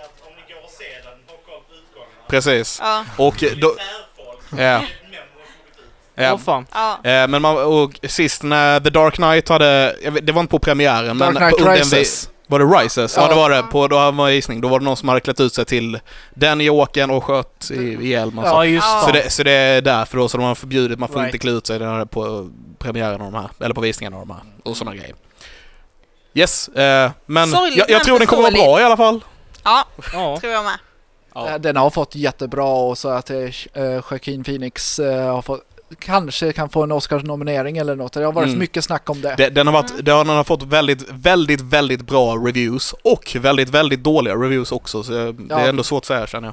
S6: att om ni går och ser den, hocka upp utgångarna.
S1: Precis.
S5: Ja.
S1: Och eh, då...
S6: Militärfolk,
S1: Ja,
S6: memo har kommit ut.
S2: Åh
S1: ja.
S2: fan.
S5: Ja.
S1: Eh, Men man, och sist när The Dark Knight hade, jag vet, det var inte på premiären
S4: Dark
S1: men
S4: Knight
S1: på, under en
S4: Rises.
S1: vi- Var det Rises? Ja,
S4: Ja.
S1: det var det. På, då hade man gissning. Då var det någon som hade klätt ut sig till den Jokern och sköt i- ihjäl massa.
S2: Ja, just
S5: Ja.
S1: Så
S2: fan.
S1: det, så det är därför då, så de har förbjudit, man får
S2: Right.
S1: inte klä ut sig när det är på premiären av de här, eller på visningen av de här, och sådana grejer. Yes, eh, men
S5: Sorgligt,
S1: jag, jag
S5: men
S1: tror den kommer vara bra i alla fall.
S5: ja,
S2: Ja.
S5: tror jag med.
S1: Ja.
S4: Eh, Den har fått jättebra och så att eh, Joaquin Phoenix eh, har fått, kanske kan få en Oscars-nominering eller något. Det har varit
S1: Mm.
S4: mycket snack om det.
S1: Den, den, har
S4: Mm.
S1: varit, den har fått väldigt, väldigt, väldigt bra reviews och väldigt, väldigt dåliga reviews också, så eh, det
S4: Ja.
S1: är ändå svårt att säga känner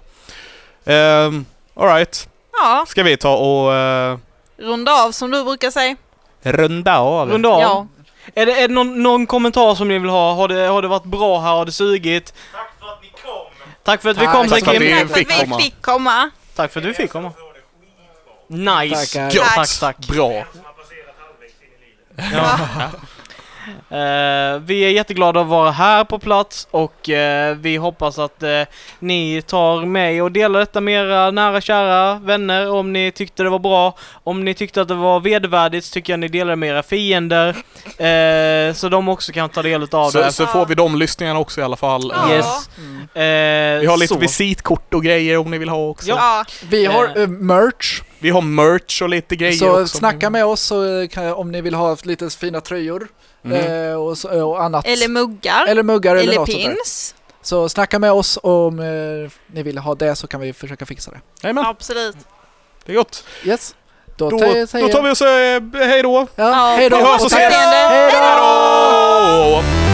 S1: jag. Um, Alright,
S5: Ja,
S1: ska vi ta och eh,
S5: runda av som du brukar säga.
S1: runda av?
S2: Runda av.
S5: Ja.
S2: Är det, är det någon, någon kommentar som ni vill ha? Har det, har det varit bra här? Har det sugit?
S6: Tack för att ni kom!
S2: Tack för att vi
S4: Tack.
S2: kom,
S4: Tack
S2: tack
S1: för att
S2: Kim.
S1: vi-
S5: Tack för att
S1: fick
S5: vi
S1: komma.
S5: fick komma.
S2: Tack för att du fick komma. Nice!
S4: Tackar.
S1: Gött.
S2: Tack, tack.
S1: Bra.
S6: Som har passerat halvvägs in i livet.
S2: Ja. Eh, vi är jätteglada att vara här på plats och eh, vi hoppas att eh, ni tar med och delar detta med era nära kära vänner om ni tyckte det var bra. Om ni tyckte att det var vedervärdigt så tycker jag ni delar det med era fiender eh, så de också kan ta del av
S1: Så,
S2: det.
S1: så får vi de lyssningarna också i alla fall.
S5: Ja.
S2: Yes.
S4: Mm.
S2: Eh,
S1: Vi har lite
S2: så.
S1: visitkort och grejer om ni vill ha också.
S2: Ja.
S5: Ja,
S4: Vi har
S2: Eh.
S4: eh, merch,
S1: Vi har merch och lite grejer
S4: så
S1: också. Mm.
S4: snacka med oss så eh, kan, om ni vill ha lite fina tröjor
S1: Mm.
S4: eh, och, så, och annat.
S5: eller muggar. Eller,
S4: eller muggar eller, något sånt där.
S5: pins.
S4: Så snacka med oss om eh, ni vill ha det så kan vi försöka fixa det.
S1: Jajamän,
S5: Absolut.
S1: det är gott.
S4: Yes. Då,
S1: Då,
S4: tar jag- säger
S1: då tar vi och säger eh, hej då.
S4: Ja,
S5: Ja,
S4: hej då!
S1: vi hörs och
S4: Och tack.
S1: ses.
S5: Hej då!
S1: Hej då!